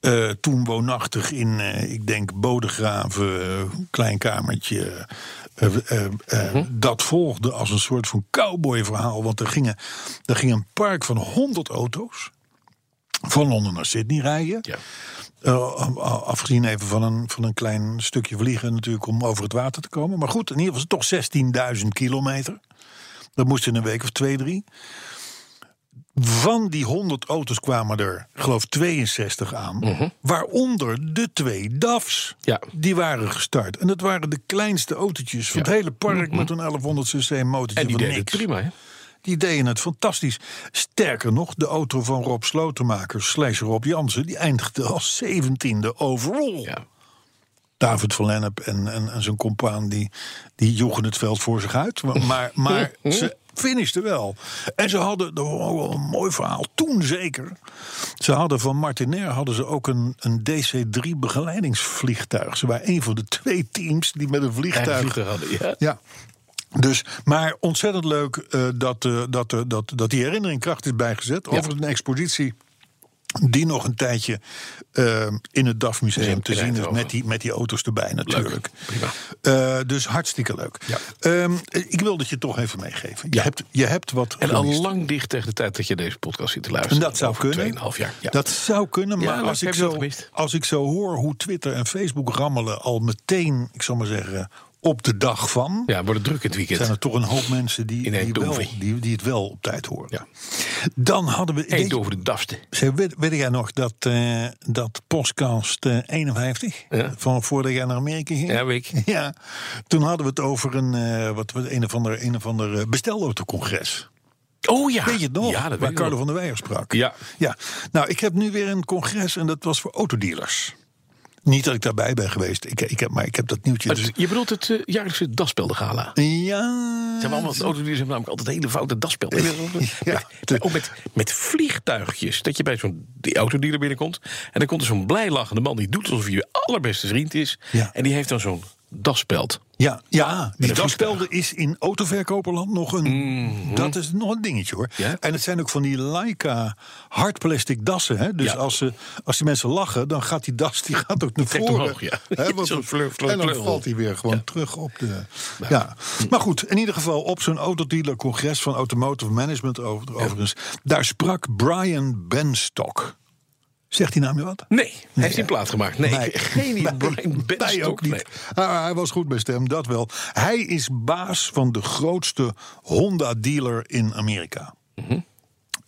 [SPEAKER 2] eh, toen woonachtig in, eh, ik denk, Bodegraven, eh, een klein kamertje. eh, eh, eh,
[SPEAKER 3] Mhm.
[SPEAKER 2] Dat volgde als een soort van cowboyverhaal. Want er, gingen, er ging een park van 100 auto's van Londen naar Sydney rijden.
[SPEAKER 3] Ja.
[SPEAKER 2] Eh, afgezien even van een, van een klein stukje vliegen natuurlijk om over het water te komen. Maar goed, in ieder geval is het toch 16.000 kilometer. Dat moest in een week of twee, drie. Van die 100 auto's kwamen er, geloof 62 aan. Waaronder de twee DAF's.
[SPEAKER 3] Mhm. Ja.
[SPEAKER 2] Die waren gestart. En dat waren de kleinste autootjes van het hele park... met een 1100 cc motortje
[SPEAKER 3] Mhm. En die
[SPEAKER 2] van
[SPEAKER 3] deed het
[SPEAKER 2] niks.
[SPEAKER 3] prima, hè?
[SPEAKER 2] Die deden het fantastisch. Sterker nog, de auto van Rob Slotemaker slash Rob Jansen... die eindigde als 17e overall.
[SPEAKER 3] Ja.
[SPEAKER 2] David van Lennep en, en, en zijn compaan... Die, die joegen het veld voor zich uit. Maar, maar, maar ze finishten wel. En ze hadden, dat was ook wel een mooi verhaal, toen zeker... ze hadden van Martinair hadden ze ook een, een DC-3-begeleidingsvliegtuig. Ze waren een van de twee teams die met een
[SPEAKER 3] Eigen
[SPEAKER 2] vliegtuig...
[SPEAKER 3] vliegtuig hadden, ja.
[SPEAKER 2] Ja. Dus, maar ontzettend leuk eh, dat, eh, dat, eh, dat, dat die herinnering kracht is bijgezet. Over een expositie die nog een tijdje eh, in het DAF Museum
[SPEAKER 3] Museum
[SPEAKER 2] te
[SPEAKER 3] in
[SPEAKER 2] zien is.
[SPEAKER 3] Eindhoven.
[SPEAKER 2] Met die, met die auto's erbij natuurlijk.
[SPEAKER 3] prima.
[SPEAKER 2] Eh, dus hartstikke leuk.
[SPEAKER 3] Ja.
[SPEAKER 2] Ehm, ik wil dat je het toch even meegeven. Je, hebt, je hebt wat
[SPEAKER 3] En
[SPEAKER 2] gemist.
[SPEAKER 3] al lang dicht tegen de tijd dat je deze podcast zit te
[SPEAKER 2] En
[SPEAKER 3] luisteren.
[SPEAKER 2] dat zou
[SPEAKER 3] Over
[SPEAKER 2] kunnen.
[SPEAKER 3] 2,5 jaar. Ja.
[SPEAKER 2] Dat zou kunnen,
[SPEAKER 3] Ja,
[SPEAKER 2] maar
[SPEAKER 3] dat
[SPEAKER 2] als,
[SPEAKER 3] heb
[SPEAKER 2] ik
[SPEAKER 3] je wel
[SPEAKER 2] zo,
[SPEAKER 3] gemist.
[SPEAKER 2] als ik zo hoor hoe Twitter en Facebook rammelen al meteen, ik zal maar zeggen, op de dag van.
[SPEAKER 3] ja, wordt het druk in het weekend.
[SPEAKER 2] zijn er toch een hoop mensen die,
[SPEAKER 3] In
[SPEAKER 2] die, wel,
[SPEAKER 3] Eindhoven.
[SPEAKER 2] die, die het wel op tijd horen.
[SPEAKER 3] Ja.
[SPEAKER 2] Dan hadden we.
[SPEAKER 3] Eet over de dafste.
[SPEAKER 2] Zeg, weet, weet jij nog dat, eh, dat podcast eh, 51
[SPEAKER 3] Ja.
[SPEAKER 2] van voordat jij naar Amerika ging?
[SPEAKER 3] Ja, week.
[SPEAKER 2] [laughs] Ja, toen hadden we het over een, eh, wat, wat, een of ander, een of ander eh, bestelauto-congres.
[SPEAKER 3] Oh ja.
[SPEAKER 2] Weet je het nog?
[SPEAKER 3] Ja, dat weet
[SPEAKER 2] Waar
[SPEAKER 3] ik
[SPEAKER 2] Carlo
[SPEAKER 3] nog.
[SPEAKER 2] van der Weijer sprak.
[SPEAKER 3] Ja.
[SPEAKER 2] ja. Nou, ik heb nu weer een congres en dat was voor autodealers. Niet dat ik daarbij ben geweest, ik, ik heb, maar ik heb dat nieuwtje. Dus,
[SPEAKER 3] Het- Je bedoelt het eh, jaarlijkse daspelgala.
[SPEAKER 2] ja.
[SPEAKER 3] Ze hebben allemaal auto's die hebben namelijk altijd hele foute daspelden.
[SPEAKER 2] Ja.
[SPEAKER 3] Met, ook met, met vliegtuigjes. Dat je bij zo'n die autodealer binnenkomt. En dan komt er zo'n blij lachende man die doet alsof hij je allerbeste vriend is.
[SPEAKER 2] Ja.
[SPEAKER 3] En die heeft dan zo'n daspeld.
[SPEAKER 2] Ja, ja die
[SPEAKER 3] Ah, een Mm-hmm.
[SPEAKER 2] daspelde is in autoverkoperland nog een... Dat is nog een dingetje, hoor.
[SPEAKER 3] Ja.
[SPEAKER 2] En het zijn ook van die Leica hardplastic dassen. Hè? Dus
[SPEAKER 3] Ja.
[SPEAKER 2] als, ze, als die mensen lachen, dan gaat die das die gaat ook naar
[SPEAKER 3] Trekt
[SPEAKER 2] voren.
[SPEAKER 3] omhoog, ja.
[SPEAKER 2] Hè, want-
[SPEAKER 3] Zo'n fleur- fleur-
[SPEAKER 2] en dan
[SPEAKER 3] fleur-
[SPEAKER 2] valt hij weer gewoon terug op de... Ja.
[SPEAKER 3] Hm.
[SPEAKER 2] Maar goed, in ieder geval op zo'n autodealer-congres van Automotive Management over, overigens... daar sprak Brian Benstock... Zegt die naam je wat?
[SPEAKER 3] Nee, hij heeft die plaat gemaakt. Nee, ik- [laughs] geen idee. Brian
[SPEAKER 2] Wij
[SPEAKER 3] Benstock,
[SPEAKER 2] ook niet.
[SPEAKER 3] nee.
[SPEAKER 2] Ah, hij was goed bij stem, dat wel. Hij is baas van de grootste Honda-dealer in Amerika.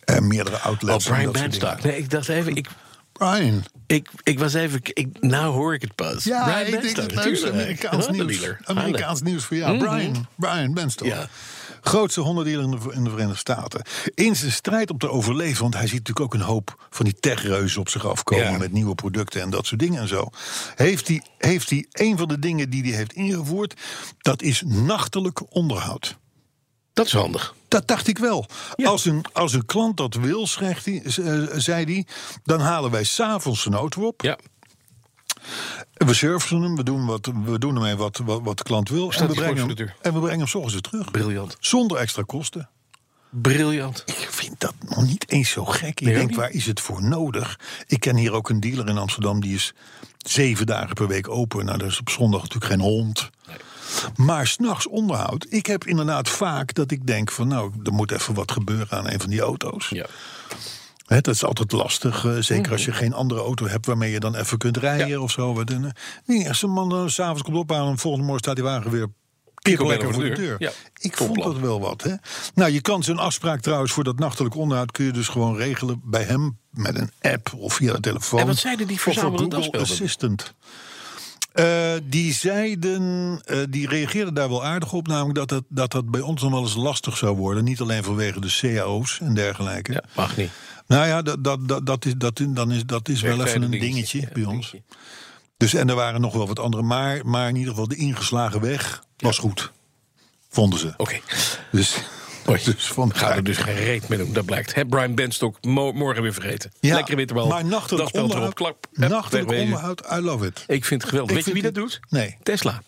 [SPEAKER 2] En meerdere outlets.
[SPEAKER 3] Mhm. Oh,
[SPEAKER 2] en
[SPEAKER 3] Brian
[SPEAKER 2] dat soort
[SPEAKER 3] Benstock. Nee, ik dacht even, ik,
[SPEAKER 2] dingen. Brian.
[SPEAKER 3] ik, ik was even, ik, nou hoor ik het pas.
[SPEAKER 2] Ja,
[SPEAKER 3] Brian
[SPEAKER 2] ik denk
[SPEAKER 3] Benstock,
[SPEAKER 2] het leukste
[SPEAKER 3] tuurlijk.
[SPEAKER 2] Amerikaans
[SPEAKER 3] Honda
[SPEAKER 2] nieuws.
[SPEAKER 3] dealer. Mm-hmm.
[SPEAKER 2] Amerikaans nieuws voor jou. Brian, Brian Benstock.
[SPEAKER 3] Ja.
[SPEAKER 2] Grootste hondendealer in de, in de Verenigde Staten. In zijn strijd om te overleven, want hij ziet natuurlijk ook een hoop van die techreuzen op zich afkomen
[SPEAKER 3] Ja.
[SPEAKER 2] met nieuwe producten en dat soort dingen en zo. Heeft hij, heeft hij een van de dingen die hij heeft ingevoerd, dat is nachtelijk onderhoud.
[SPEAKER 3] Dat is handig.
[SPEAKER 2] Dat dacht ik wel. Als, een, als een klant dat wil, zegt hij, eh, zei hij, dan halen wij s'avonds een auto op.
[SPEAKER 3] Ja.
[SPEAKER 2] We surfen hem, we doen, wat, we doen ermee wat, wat, wat de klant wil. En we,
[SPEAKER 3] hij gewoon
[SPEAKER 2] brengen
[SPEAKER 3] voor de
[SPEAKER 2] hem,
[SPEAKER 3] deur.
[SPEAKER 2] en we brengen hem s'ochtends weer terug.
[SPEAKER 3] Briljant.
[SPEAKER 2] Zonder extra kosten.
[SPEAKER 3] Briljant.
[SPEAKER 2] Ik vind dat nog niet eens zo gek. Ik
[SPEAKER 3] Nee, ook
[SPEAKER 2] denk,
[SPEAKER 3] niet.
[SPEAKER 2] waar is het voor nodig? Ik ken hier ook een dealer in Amsterdam, die is zeven dagen per week open. Nou, dat is op zondag natuurlijk geen hond. Maar s'nachts onderhoud. Ik heb inderdaad vaak dat ik denk van, nou, er moet even wat gebeuren aan een van die auto's.
[SPEAKER 3] Ja.
[SPEAKER 2] Hè, dat is altijd lastig. eh, zeker als je geen andere auto hebt waarmee je dan even kunt rijden
[SPEAKER 3] Mm. Ja.
[SPEAKER 2] of zo. Wat, en, eh, nee, als een man dan s'avonds komt ophalen en volgende morgen staat die wagen weer
[SPEAKER 3] bijna
[SPEAKER 2] lekker voor de deur.
[SPEAKER 3] Ja,
[SPEAKER 2] Ik
[SPEAKER 3] top
[SPEAKER 2] vond
[SPEAKER 3] plan.
[SPEAKER 2] dat wel wat. Hè? Nou, je kan zo'n afspraak trouwens voor dat nachtelijk onderhoud kun je dus gewoon regelen bij hem met een app of via de telefoon.
[SPEAKER 3] En wat zeiden die
[SPEAKER 2] Of voor
[SPEAKER 3] verzamelend
[SPEAKER 2] Google
[SPEAKER 3] afspeelden?
[SPEAKER 2] Assistant. Eh, die zeiden, eh, die reageerden daar wel aardig op, namelijk dat dat, dat dat bij ons nog wel eens lastig zou worden. Niet alleen vanwege de cao's en dergelijke.
[SPEAKER 3] ja, mag niet.
[SPEAKER 2] Nou ja, dat, dat, dat, dat is, dat, dan is, dat is wel even een
[SPEAKER 3] Werktijden
[SPEAKER 2] dingetje
[SPEAKER 3] Ja,
[SPEAKER 2] bij ons.
[SPEAKER 3] dingetje.
[SPEAKER 2] Dus, en er waren nog wel wat andere, maar, maar in ieder geval de ingeslagen weg was goed. Vonden ze.
[SPEAKER 3] Oké, [laughs]
[SPEAKER 2] Dus,
[SPEAKER 3] Mooi.
[SPEAKER 2] dus van
[SPEAKER 3] gaan we dus geen reet mee doen, dat blijkt. Hè, Brian Benstock, mo- morgen weer vergeten.
[SPEAKER 2] Ja,
[SPEAKER 3] Lekker winterbal.
[SPEAKER 2] Maar
[SPEAKER 3] dat
[SPEAKER 2] nachtelijk
[SPEAKER 3] speelt erop.
[SPEAKER 2] onderhoud,
[SPEAKER 3] Klap. Hup,
[SPEAKER 2] nachtelijk
[SPEAKER 3] wegwezen.
[SPEAKER 2] onderhoud, I love it.
[SPEAKER 3] Ik vind het geweldig.
[SPEAKER 2] Ik
[SPEAKER 3] Weet je wie
[SPEAKER 2] vind
[SPEAKER 3] dat
[SPEAKER 2] het-
[SPEAKER 3] doet?
[SPEAKER 2] Nee.
[SPEAKER 3] Tesla.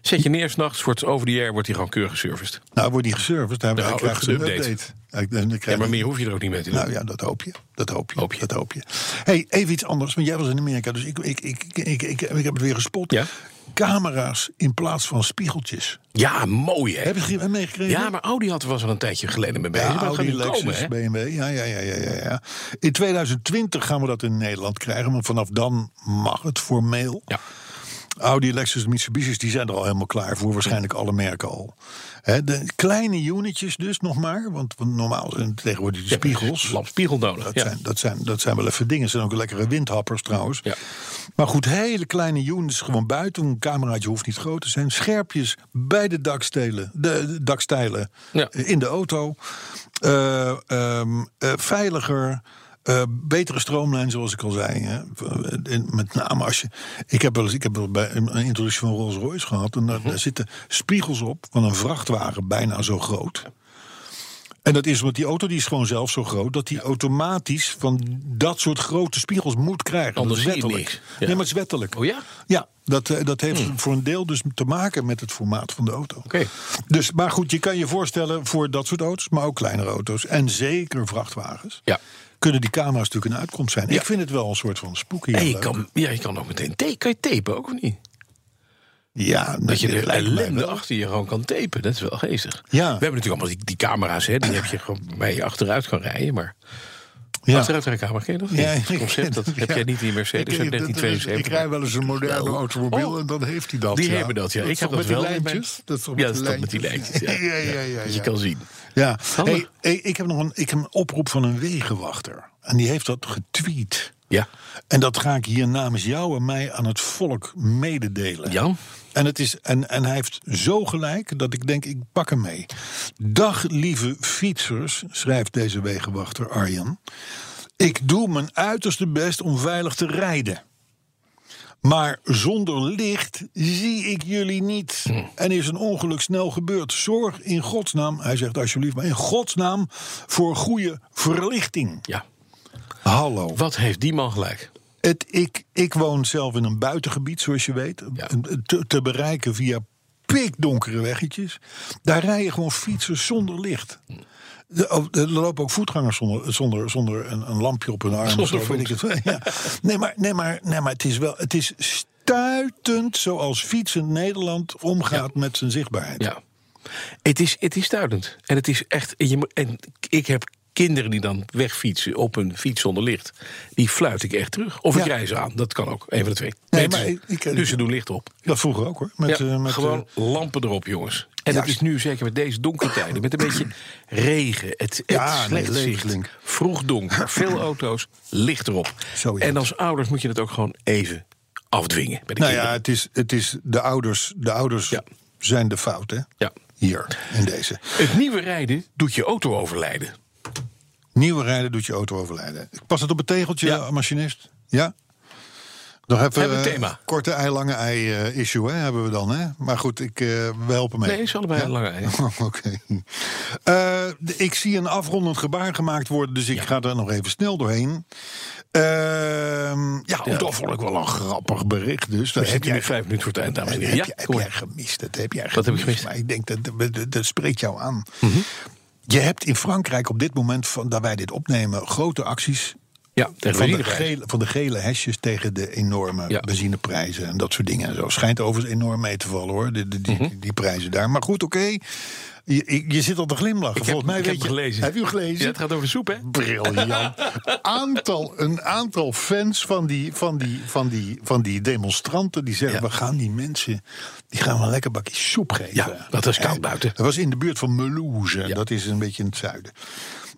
[SPEAKER 3] Zet je neer s'nachts, wordt over de jaar wordt hij gewoon keurig geserviced.
[SPEAKER 2] Nou, wordt die geserviced, hij,
[SPEAKER 3] Nou,
[SPEAKER 2] hij krijgt een
[SPEAKER 3] update.
[SPEAKER 2] update. Hij- dan krijgt
[SPEAKER 3] Ja, maar
[SPEAKER 2] hij-
[SPEAKER 3] meer hoef je er ook niet mee te doen.
[SPEAKER 2] Nou ja, dat hoop je. Dat hoop je.
[SPEAKER 3] Hoop je.
[SPEAKER 2] Dat hoop je. hey, even iets anders. Want jij was in Amerika, dus ik, ik, ik, ik, ik, ik, ik heb het weer gespot.
[SPEAKER 3] Ja.
[SPEAKER 2] Camera's in plaats van spiegeltjes.
[SPEAKER 3] Ja, mooi hè.
[SPEAKER 2] Heb je het meegekregen?
[SPEAKER 3] Ja, maar Audi had, was er een tijdje geleden mee bezig.
[SPEAKER 2] Ja,
[SPEAKER 3] maar dat gaat
[SPEAKER 2] Audi,
[SPEAKER 3] nu
[SPEAKER 2] Lexus,
[SPEAKER 3] komen, hè?
[SPEAKER 2] BMW. Ja, ja, ja, ja, ja, ja. In 2020 gaan we dat in Nederland krijgen, maar vanaf dan mag het formeel.
[SPEAKER 3] Ja.
[SPEAKER 2] Audi, Lexus, Mitsubishi's, die zijn er al helemaal klaar voor. Waarschijnlijk alle merken al. Hè, de kleine unitjes dus nog maar, want want normaal zijn het tegenwoordig de spiegels.
[SPEAKER 3] Lampspiegel nodig.
[SPEAKER 2] Dat,
[SPEAKER 3] ja.
[SPEAKER 2] zijn, dat, zijn, dat zijn wel even dingen. Het zijn ook lekkere windhappers trouwens.
[SPEAKER 3] Ja.
[SPEAKER 2] Maar goed, hele kleine units gewoon buiten. Een cameraatje hoeft niet groot te zijn. Scherpjes bij de dakstelen, de, de dakstijlen
[SPEAKER 3] Ja.
[SPEAKER 2] eh, in de auto. Eh, ehm, eh, veiliger. eh, betere stroomlijn, zoals ik al zei. Hè. En Met name als je. Ik heb wel eens ik heb wel bij een een introductie van Rolls Royce gehad. En daar,
[SPEAKER 3] Mhm.
[SPEAKER 2] daar zitten spiegels op van een vrachtwagen, bijna zo groot. En dat is omdat die auto die is gewoon zelf zo groot dat die automatisch van dat soort grote spiegels moet krijgen.
[SPEAKER 3] Anders
[SPEAKER 2] dat is
[SPEAKER 3] zie je
[SPEAKER 2] wettelijk.
[SPEAKER 3] niks. Ja.
[SPEAKER 2] Nee, maar het is wettelijk.
[SPEAKER 3] Oh ja? Hmm.
[SPEAKER 2] Ja, dat, eh, dat heeft voor een deel dus te maken met het formaat van de auto.
[SPEAKER 3] Oké.
[SPEAKER 2] Dus, maar goed, je kan je voorstellen voor dat soort auto's, maar ook kleinere auto's en zeker vrachtwagens.
[SPEAKER 3] Ja.
[SPEAKER 2] Kunnen die camera's natuurlijk een uitkomst zijn. Ik vind het wel een soort van spooky.
[SPEAKER 3] En je
[SPEAKER 2] leuk.
[SPEAKER 3] kan, ja, je kan ook meteen tapen. Kan je tapen ook of niet?
[SPEAKER 2] ja,
[SPEAKER 3] Dat je de
[SPEAKER 2] lijkt mij
[SPEAKER 3] ellende
[SPEAKER 2] wel.
[SPEAKER 3] achter je gewoon kan tapen. Dat is wel geestig.
[SPEAKER 2] Ja.
[SPEAKER 3] We hebben natuurlijk allemaal die, die camera's, hè, die heb je gewoon bij je achteruit kan rijden. Maar
[SPEAKER 2] Ja.
[SPEAKER 3] achteruitrijkamer, ken je dat?
[SPEAKER 2] Ja,
[SPEAKER 3] dat concept, dat heb
[SPEAKER 2] ja.
[SPEAKER 3] jij niet in je Mercedes
[SPEAKER 2] Ik-
[SPEAKER 3] uit
[SPEAKER 2] dat- dat-
[SPEAKER 3] 1972.
[SPEAKER 2] Ik rij wel eens een moderne
[SPEAKER 3] Nou.
[SPEAKER 2] automobiel
[SPEAKER 3] Oh.
[SPEAKER 2] en dan heeft hij dat.
[SPEAKER 3] Die hebben dat, ja.
[SPEAKER 2] Dat
[SPEAKER 3] ik
[SPEAKER 2] is
[SPEAKER 3] heb
[SPEAKER 2] toch
[SPEAKER 3] dat
[SPEAKER 2] met
[SPEAKER 3] wel
[SPEAKER 2] die
[SPEAKER 3] in mijn-
[SPEAKER 2] lijntjes. Dat is toch
[SPEAKER 3] ja,
[SPEAKER 2] met
[SPEAKER 3] dat
[SPEAKER 2] die
[SPEAKER 3] is toch met die
[SPEAKER 2] lijntjes.
[SPEAKER 3] lijntjes. Ja,
[SPEAKER 2] [laughs] Ja, ja, ja,
[SPEAKER 3] Dat
[SPEAKER 2] ja.
[SPEAKER 3] je kan zien.
[SPEAKER 2] Ja,
[SPEAKER 3] Handig.
[SPEAKER 2] hey, hey, ik heb nog een, ik heb een oproep van een wegenwachter. En die heeft dat getweet.
[SPEAKER 3] Ja.
[SPEAKER 2] En dat ga ik hier namens jou en mij aan het volk mededelen.
[SPEAKER 3] Jan?
[SPEAKER 2] En, het is, en, en hij heeft zo gelijk dat ik denk, ik pak hem mee. Dag lieve fietsers, schrijft deze wegenwachter Arjan. Ik doe mijn uiterste best om veilig te rijden. Maar zonder licht zie ik jullie niet. En is een ongeluk snel gebeurd. Zorg in godsnaam, hij zegt alsjeblieft, maar in godsnaam voor goede verlichting.
[SPEAKER 3] Ja.
[SPEAKER 2] Hallo.
[SPEAKER 3] Wat heeft die man gelijk?
[SPEAKER 2] Het, ik, ik woon zelf in een buitengebied, zoals je weet.
[SPEAKER 3] Ja.
[SPEAKER 2] Te, te bereiken via pikdonkere weggetjes. Daar rijden gewoon fietsers zonder licht. De- oh, Er lopen ook voetgangers zonder, zonder, zonder een, een lampje op hun arm. of
[SPEAKER 3] Zonder
[SPEAKER 2] zo, weet ik het.
[SPEAKER 3] [laughs]
[SPEAKER 2] Ja. Nee, maar, nee, maar, nee, maar het is wel. Het is stuitend zoals fietsend Nederland omgaat met zijn zichtbaarheid.
[SPEAKER 3] Ja. Het is, het is duidend. En het is echt. en Je, moet- en ik heb kinderen die dan wegfietsen op een fiets zonder licht, die fluit ik echt terug. Of ik
[SPEAKER 2] Ja.
[SPEAKER 3] rij ze aan, dat kan ook. Een van de twee.
[SPEAKER 2] Nee,
[SPEAKER 3] dus-
[SPEAKER 2] maar ik- ik ken-
[SPEAKER 3] dus ze doen licht op.
[SPEAKER 2] Dat vroeger ook hoor. Met,
[SPEAKER 3] Ja,
[SPEAKER 2] eh, met,
[SPEAKER 3] gewoon lampen erop, jongens. En dat
[SPEAKER 2] juist.
[SPEAKER 3] is nu zeker met deze donkere tijden, met
[SPEAKER 2] [clears throat]
[SPEAKER 3] een beetje regen, het,
[SPEAKER 2] Ja,
[SPEAKER 3] het
[SPEAKER 2] nee,
[SPEAKER 3] slecht
[SPEAKER 2] het is
[SPEAKER 3] zicht,
[SPEAKER 2] flink.
[SPEAKER 3] vroeg
[SPEAKER 2] [clears throat]
[SPEAKER 3] donker, veel auto's, licht erop.
[SPEAKER 2] Zo is
[SPEAKER 3] en
[SPEAKER 2] het.
[SPEAKER 3] als ouders moet je dat ook gewoon even afdwingen bij de
[SPEAKER 2] Nou ja,
[SPEAKER 3] kinderen.
[SPEAKER 2] het is, het is de ouders, de ouders
[SPEAKER 3] Ja.
[SPEAKER 2] zijn de fout, hè?
[SPEAKER 3] Ja.
[SPEAKER 2] Hier, in deze.
[SPEAKER 3] Het nieuwe rijden doet je auto overlijden.
[SPEAKER 2] Nieuwe rijden doet je auto overlijden. Pas het op het tegeltje,
[SPEAKER 3] Ja.
[SPEAKER 2] machinist? Ja? Nog even
[SPEAKER 3] Hebben we
[SPEAKER 2] eh,
[SPEAKER 3] thema.
[SPEAKER 2] korte ei, lange ei eh, issue hè, hebben we dan. Hè? Maar goed, ik, eh, we helpen mee.
[SPEAKER 3] Nee, is allebei een
[SPEAKER 2] [laughs]
[SPEAKER 3] lange ei.
[SPEAKER 2] Oké. Eh, de- ik zie een afrondend gebaar gemaakt worden, dus ik ga er nog even snel doorheen. Ehm, ja,
[SPEAKER 3] Ja.
[SPEAKER 2] dat vond ik wel een grappig bericht. Dus daar
[SPEAKER 3] We
[SPEAKER 2] heb
[SPEAKER 3] zitten nu
[SPEAKER 2] jij
[SPEAKER 3] vijf minuten voor het eind, dames en
[SPEAKER 2] Nee,
[SPEAKER 3] heren. Ja,
[SPEAKER 2] heb, jij, heb
[SPEAKER 3] kom
[SPEAKER 2] jij
[SPEAKER 3] maar.
[SPEAKER 2] gemist? Dat heb jij gemist.
[SPEAKER 3] Wat heb ik gemist? Mhm.
[SPEAKER 2] Maar ik denk dat dat, dat- dat spreekt jou aan. Je hebt in Frankrijk op dit moment, van, dat wij dit opnemen, grote acties.
[SPEAKER 3] Ja, tegen
[SPEAKER 2] Van de,
[SPEAKER 3] benzineprijs.
[SPEAKER 2] gele, van de gele hesjes tegen de enorme
[SPEAKER 3] Ja.
[SPEAKER 2] benzineprijzen en dat soort dingen. En zo. Schijnt overigens enorm mee te vallen hoor, die, die, die-
[SPEAKER 3] Hm?
[SPEAKER 2] die prijzen daar. Maar goed, oké. Je, je- je zit al te glimlachen.
[SPEAKER 3] Ik heb-
[SPEAKER 2] Volgens mij
[SPEAKER 3] ik
[SPEAKER 2] weet
[SPEAKER 3] heb
[SPEAKER 2] je.
[SPEAKER 3] hem gelezen.
[SPEAKER 2] Heb je hem
[SPEAKER 3] Ja,
[SPEAKER 2] gelezen?
[SPEAKER 3] het gaat over de soep, hè?
[SPEAKER 2] Briljant. Aantal, een aantal fans van die, van die, van die, van die demonstranten die zeggen:
[SPEAKER 3] Ja.
[SPEAKER 2] we gaan die mensen die gaan we een lekker bakje soep geven.
[SPEAKER 3] Ja, dat was koud
[SPEAKER 2] Hè?
[SPEAKER 3] buiten.
[SPEAKER 2] Dat was in de buurt van Melouse. Dat is een beetje in het zuiden.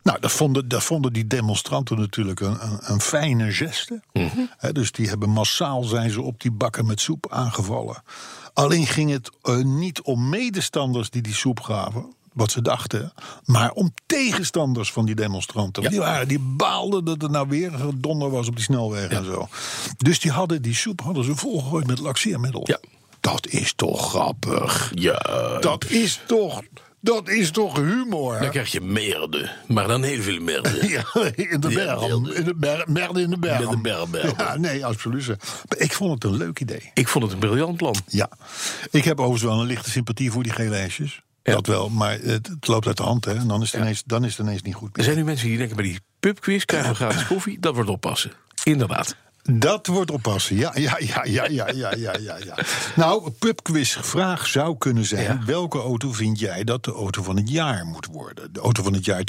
[SPEAKER 2] Nou, dat vonden, dat vonden die demonstranten natuurlijk een, een, een fijne geste.
[SPEAKER 3] Mhm.
[SPEAKER 2] Hè, dus die hebben massaal zijn ze op die bakken met soep aangevallen. Alleen ging het eh, niet om medestanders die die soep gaven, wat ze dachten, maar om tegenstanders van die demonstranten. Want Die, waren, die baalden dat er nou weer donder was op die snelweg en zo. Dus die, hadden, die soep hadden ze volgegooid met laxeermiddel.
[SPEAKER 3] Ja.
[SPEAKER 2] Dat is toch grappig.
[SPEAKER 3] Ja,
[SPEAKER 2] Dat is toch, dat is toch humor.
[SPEAKER 3] dan krijg je merde. Maar dan heel veel
[SPEAKER 2] [laughs]
[SPEAKER 3] merde.
[SPEAKER 2] [laughs] Ja, in de berm. In de berm. Merde in de berm.
[SPEAKER 3] Met de berm,
[SPEAKER 2] Ja, nee, absoluut. Maar ik vond het een leuk idee.
[SPEAKER 3] Ik vond het een briljant plan.
[SPEAKER 2] Ja. Ik heb overigens wel een lichte sympathie voor die gele hesjes.
[SPEAKER 3] Ja.
[SPEAKER 2] Dat wel, maar het, het loopt uit de hand. Hè. En dan is, het ineens, dan is het ineens niet goed
[SPEAKER 3] Er
[SPEAKER 2] meer.
[SPEAKER 3] zijn nu mensen die denken bij die pubquiz krijgen we gratis koffie. Dat wordt oppassen. Inderdaad.
[SPEAKER 2] Dat wordt oppassen. Ja, ja, ja, ja, ja, ja, ja, ja. ja. Nou, pubquiz vraag zou kunnen zijn...
[SPEAKER 3] Ja.
[SPEAKER 2] welke auto vind jij dat de auto van het jaar moet worden? De auto van het jaar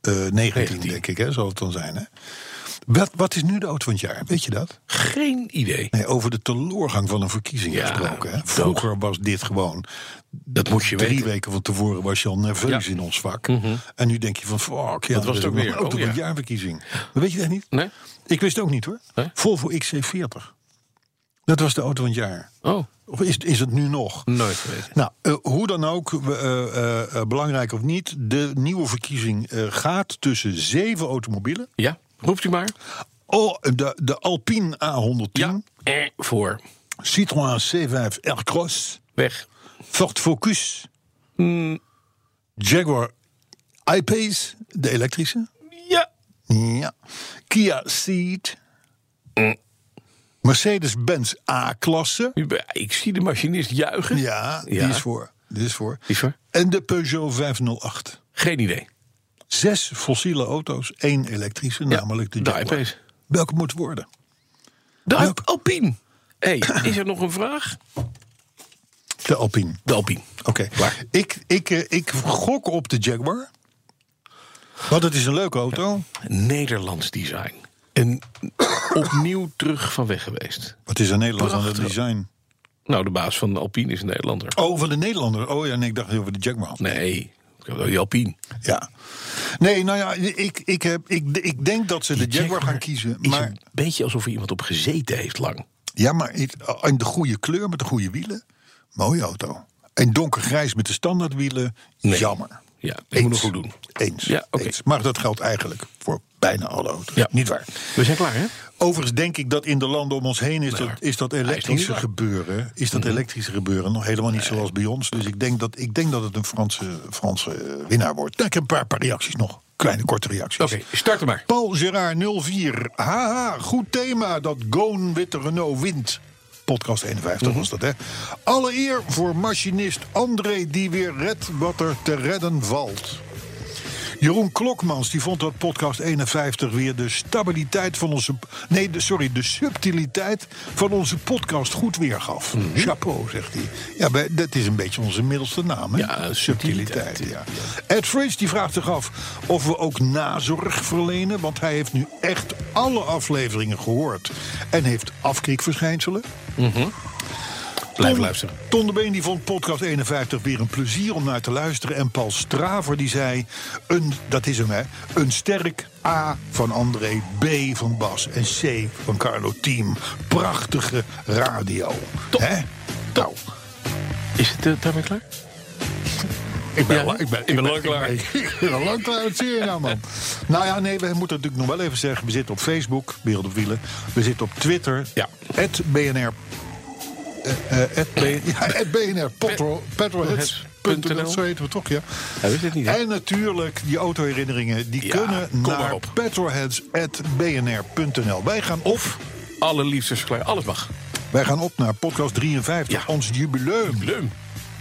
[SPEAKER 2] 2019,
[SPEAKER 3] 19.
[SPEAKER 2] denk ik, hè, zal het dan zijn. Hè? Wat, wat is nu de auto van het jaar? Weet je dat?
[SPEAKER 3] Geen idee.
[SPEAKER 2] Nee, over de teloorgang van een verkiezing
[SPEAKER 3] Ja,
[SPEAKER 2] gesproken. Hè?
[SPEAKER 3] dood.
[SPEAKER 2] Vroeger was dit gewoon.
[SPEAKER 3] Dat moet je
[SPEAKER 2] Drie
[SPEAKER 3] weten.
[SPEAKER 2] weken van tevoren was je al nerveus
[SPEAKER 3] Ja.
[SPEAKER 2] in ons vak. En nu denk je van, fuck, ja,
[SPEAKER 3] Dat was
[SPEAKER 2] er is
[SPEAKER 3] het ook
[SPEAKER 2] nog
[SPEAKER 3] weer.
[SPEAKER 2] een auto
[SPEAKER 3] Oh,
[SPEAKER 2] van
[SPEAKER 3] ja.
[SPEAKER 2] de jaarverkiezing. Maar weet je dat niet?
[SPEAKER 3] Nee?
[SPEAKER 2] Ik wist het ook niet hoor.
[SPEAKER 3] Nee?
[SPEAKER 2] Volvo XC40. Dat was de auto van het jaar.
[SPEAKER 3] Oh,
[SPEAKER 2] Of is, is het nu nog?
[SPEAKER 3] nooit geweten.
[SPEAKER 2] Nou, eh, hoe dan ook, we, eh, eh, eh, belangrijk of niet, de nieuwe verkiezing eh, gaat tussen zeven automobielen.
[SPEAKER 3] Ja, roept u maar.
[SPEAKER 2] Oh, de, de Alpine A110,
[SPEAKER 3] Ja. Eh, voor.
[SPEAKER 2] Citroën C5 Aircross,
[SPEAKER 3] Weg.
[SPEAKER 2] Ford Focus.
[SPEAKER 3] Hmm.
[SPEAKER 2] Jaguar I-Pace, de elektrische.
[SPEAKER 3] Ja.
[SPEAKER 2] Ja. Kia Ceed.
[SPEAKER 3] Hmm.
[SPEAKER 2] Mercedes-Benz A-klasse.
[SPEAKER 3] U be- Ik zie de machinist juichen.
[SPEAKER 2] Ja, die
[SPEAKER 3] Ja.
[SPEAKER 2] is voor. Die is voor.
[SPEAKER 3] Is voor?
[SPEAKER 2] En de Peugeot 508.
[SPEAKER 3] Geen idee.
[SPEAKER 2] Zes fossiele auto's, één elektrische,
[SPEAKER 3] Ja,
[SPEAKER 2] namelijk de
[SPEAKER 3] de
[SPEAKER 2] Jaguar.
[SPEAKER 3] iPace.
[SPEAKER 2] Welke moet worden?
[SPEAKER 3] De
[SPEAKER 2] Ja.
[SPEAKER 3] Alp- Alpine. Hé, hey, is er nog een vraag?
[SPEAKER 2] De Alpine.
[SPEAKER 3] De Alpine.
[SPEAKER 2] Oké. Ik, ik, eh, ik gok op de Jaguar. Want het is een leuke auto.
[SPEAKER 3] Nederlands design. En opnieuw terug van weg geweest.
[SPEAKER 2] Wat is er Nederlands aan het
[SPEAKER 3] Prachtig.
[SPEAKER 2] design?
[SPEAKER 3] Nou, de baas van Alpine is een Nederlander.
[SPEAKER 2] Oh, van de Nederlander. Oh ja, nee, ik dacht over de Jaguar. had.
[SPEAKER 3] Nee, ik heb wel die Alpine.
[SPEAKER 2] Ja. Nee, nou ja, ik, ik, heb, ik, ik denk dat ze de Jaguar, gaan kiezen.
[SPEAKER 3] Is
[SPEAKER 2] Maar,
[SPEAKER 3] een beetje alsof er iemand op gezeten heeft lang.
[SPEAKER 2] Ja, maar het- in de goede kleur met de goede wielen. Mooie auto. En donkergrijs met de standaardwielen.
[SPEAKER 3] Nee.
[SPEAKER 2] Jammer.
[SPEAKER 3] Ja, dat
[SPEAKER 2] Eens.
[SPEAKER 3] moet nog goed doen.
[SPEAKER 2] Eens.
[SPEAKER 3] Ja, oké.
[SPEAKER 2] eens. Maar dat geldt eigenlijk voor bijna alle auto's.
[SPEAKER 3] Ja.
[SPEAKER 2] Niet waar.
[SPEAKER 3] We zijn klaar, hè?
[SPEAKER 2] Overigens denk ik dat in de landen om ons heen is,
[SPEAKER 3] Nou,
[SPEAKER 2] dat, is dat
[SPEAKER 3] nog niet
[SPEAKER 2] elektrische
[SPEAKER 3] waar. Mhm.
[SPEAKER 2] gebeuren. Is dat elektrische gebeuren nog helemaal niet zoals bij ons. Dus ik denk dat, ik denk dat het een Franse, Franse eh, winnaar wordt. Nou, Ik heb een paar, paar reacties nog. Kleine korte reacties.
[SPEAKER 3] Oké, start er maar.
[SPEAKER 2] Paul Gerard 04. Haha, goed thema dat Goon Witte Renault wint. Podcast 51 was dat, hè? Alle eer voor machinist André die weer redt wat er te redden valt. Jeroen Klokmans die vond dat podcast 51 weer de stabiliteit van onze. Nee, de, sorry, de subtiliteit van onze podcast goed weergaf.
[SPEAKER 3] Mhm.
[SPEAKER 2] Chapeau, zegt hij. Ja, maar dat is een beetje onze middelste naam. Hè?
[SPEAKER 3] Ja, subtiliteit,
[SPEAKER 2] Ja. Ed Fritz die vraagt zich af of we ook nazorg verlenen. Want hij heeft nu echt alle afleveringen gehoord. En heeft afkikverschijnselen.
[SPEAKER 3] Blijf
[SPEAKER 2] Ton-
[SPEAKER 3] luisteren.
[SPEAKER 2] Ton de Been die vond podcast 51 weer een plezier om naar te luisteren. En Paul Straver die zei, een, dat is hem hè, een sterk A van André, B van Bas en C van Carlo Team. Prachtige radio.
[SPEAKER 3] Top.
[SPEAKER 2] Hè? Nou,
[SPEAKER 3] Is het eh, daarmee klaar?
[SPEAKER 2] ik ben,
[SPEAKER 3] Ja,
[SPEAKER 2] al- ik ben,
[SPEAKER 3] ik ben lang klaar.
[SPEAKER 2] Ik ben, ik ben al lang klaar, wat zie je nou
[SPEAKER 3] [laughs]
[SPEAKER 2] man. Nou ja, nee, we moeten natuurlijk nog wel even zeggen. We zitten op Facebook, Wereld op Wielen. We zitten op Twitter,
[SPEAKER 3] Ja.
[SPEAKER 2] at BNR... eh, eh, at
[SPEAKER 3] [laughs]
[SPEAKER 2] B- ja, at BNR, Potro- petrolheads.nl, zo heten we toch, ja.
[SPEAKER 3] Ja, weet het niet, hè?
[SPEAKER 2] En natuurlijk, die autoherinneringen, die
[SPEAKER 3] Ja,
[SPEAKER 2] kunnen
[SPEAKER 3] kom maar
[SPEAKER 2] naar
[SPEAKER 3] op.
[SPEAKER 2] petrolheads.bnr.nl. Wij gaan op,
[SPEAKER 3] Of allerliefst is klaar. Alles mag.
[SPEAKER 2] wij gaan op naar podcast 53,
[SPEAKER 3] Ja.
[SPEAKER 2] ons jubileum.
[SPEAKER 3] Leum.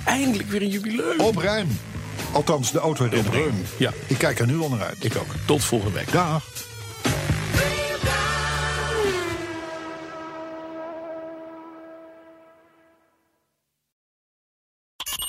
[SPEAKER 3] Eindelijk weer een jubileum.
[SPEAKER 2] Op Rijm. Althans, de autoherinnering.
[SPEAKER 3] Op Rijm, ja.
[SPEAKER 2] Ik kijk er nu al naar uit.
[SPEAKER 3] Ik ook. Tot volgende week.
[SPEAKER 2] Dag.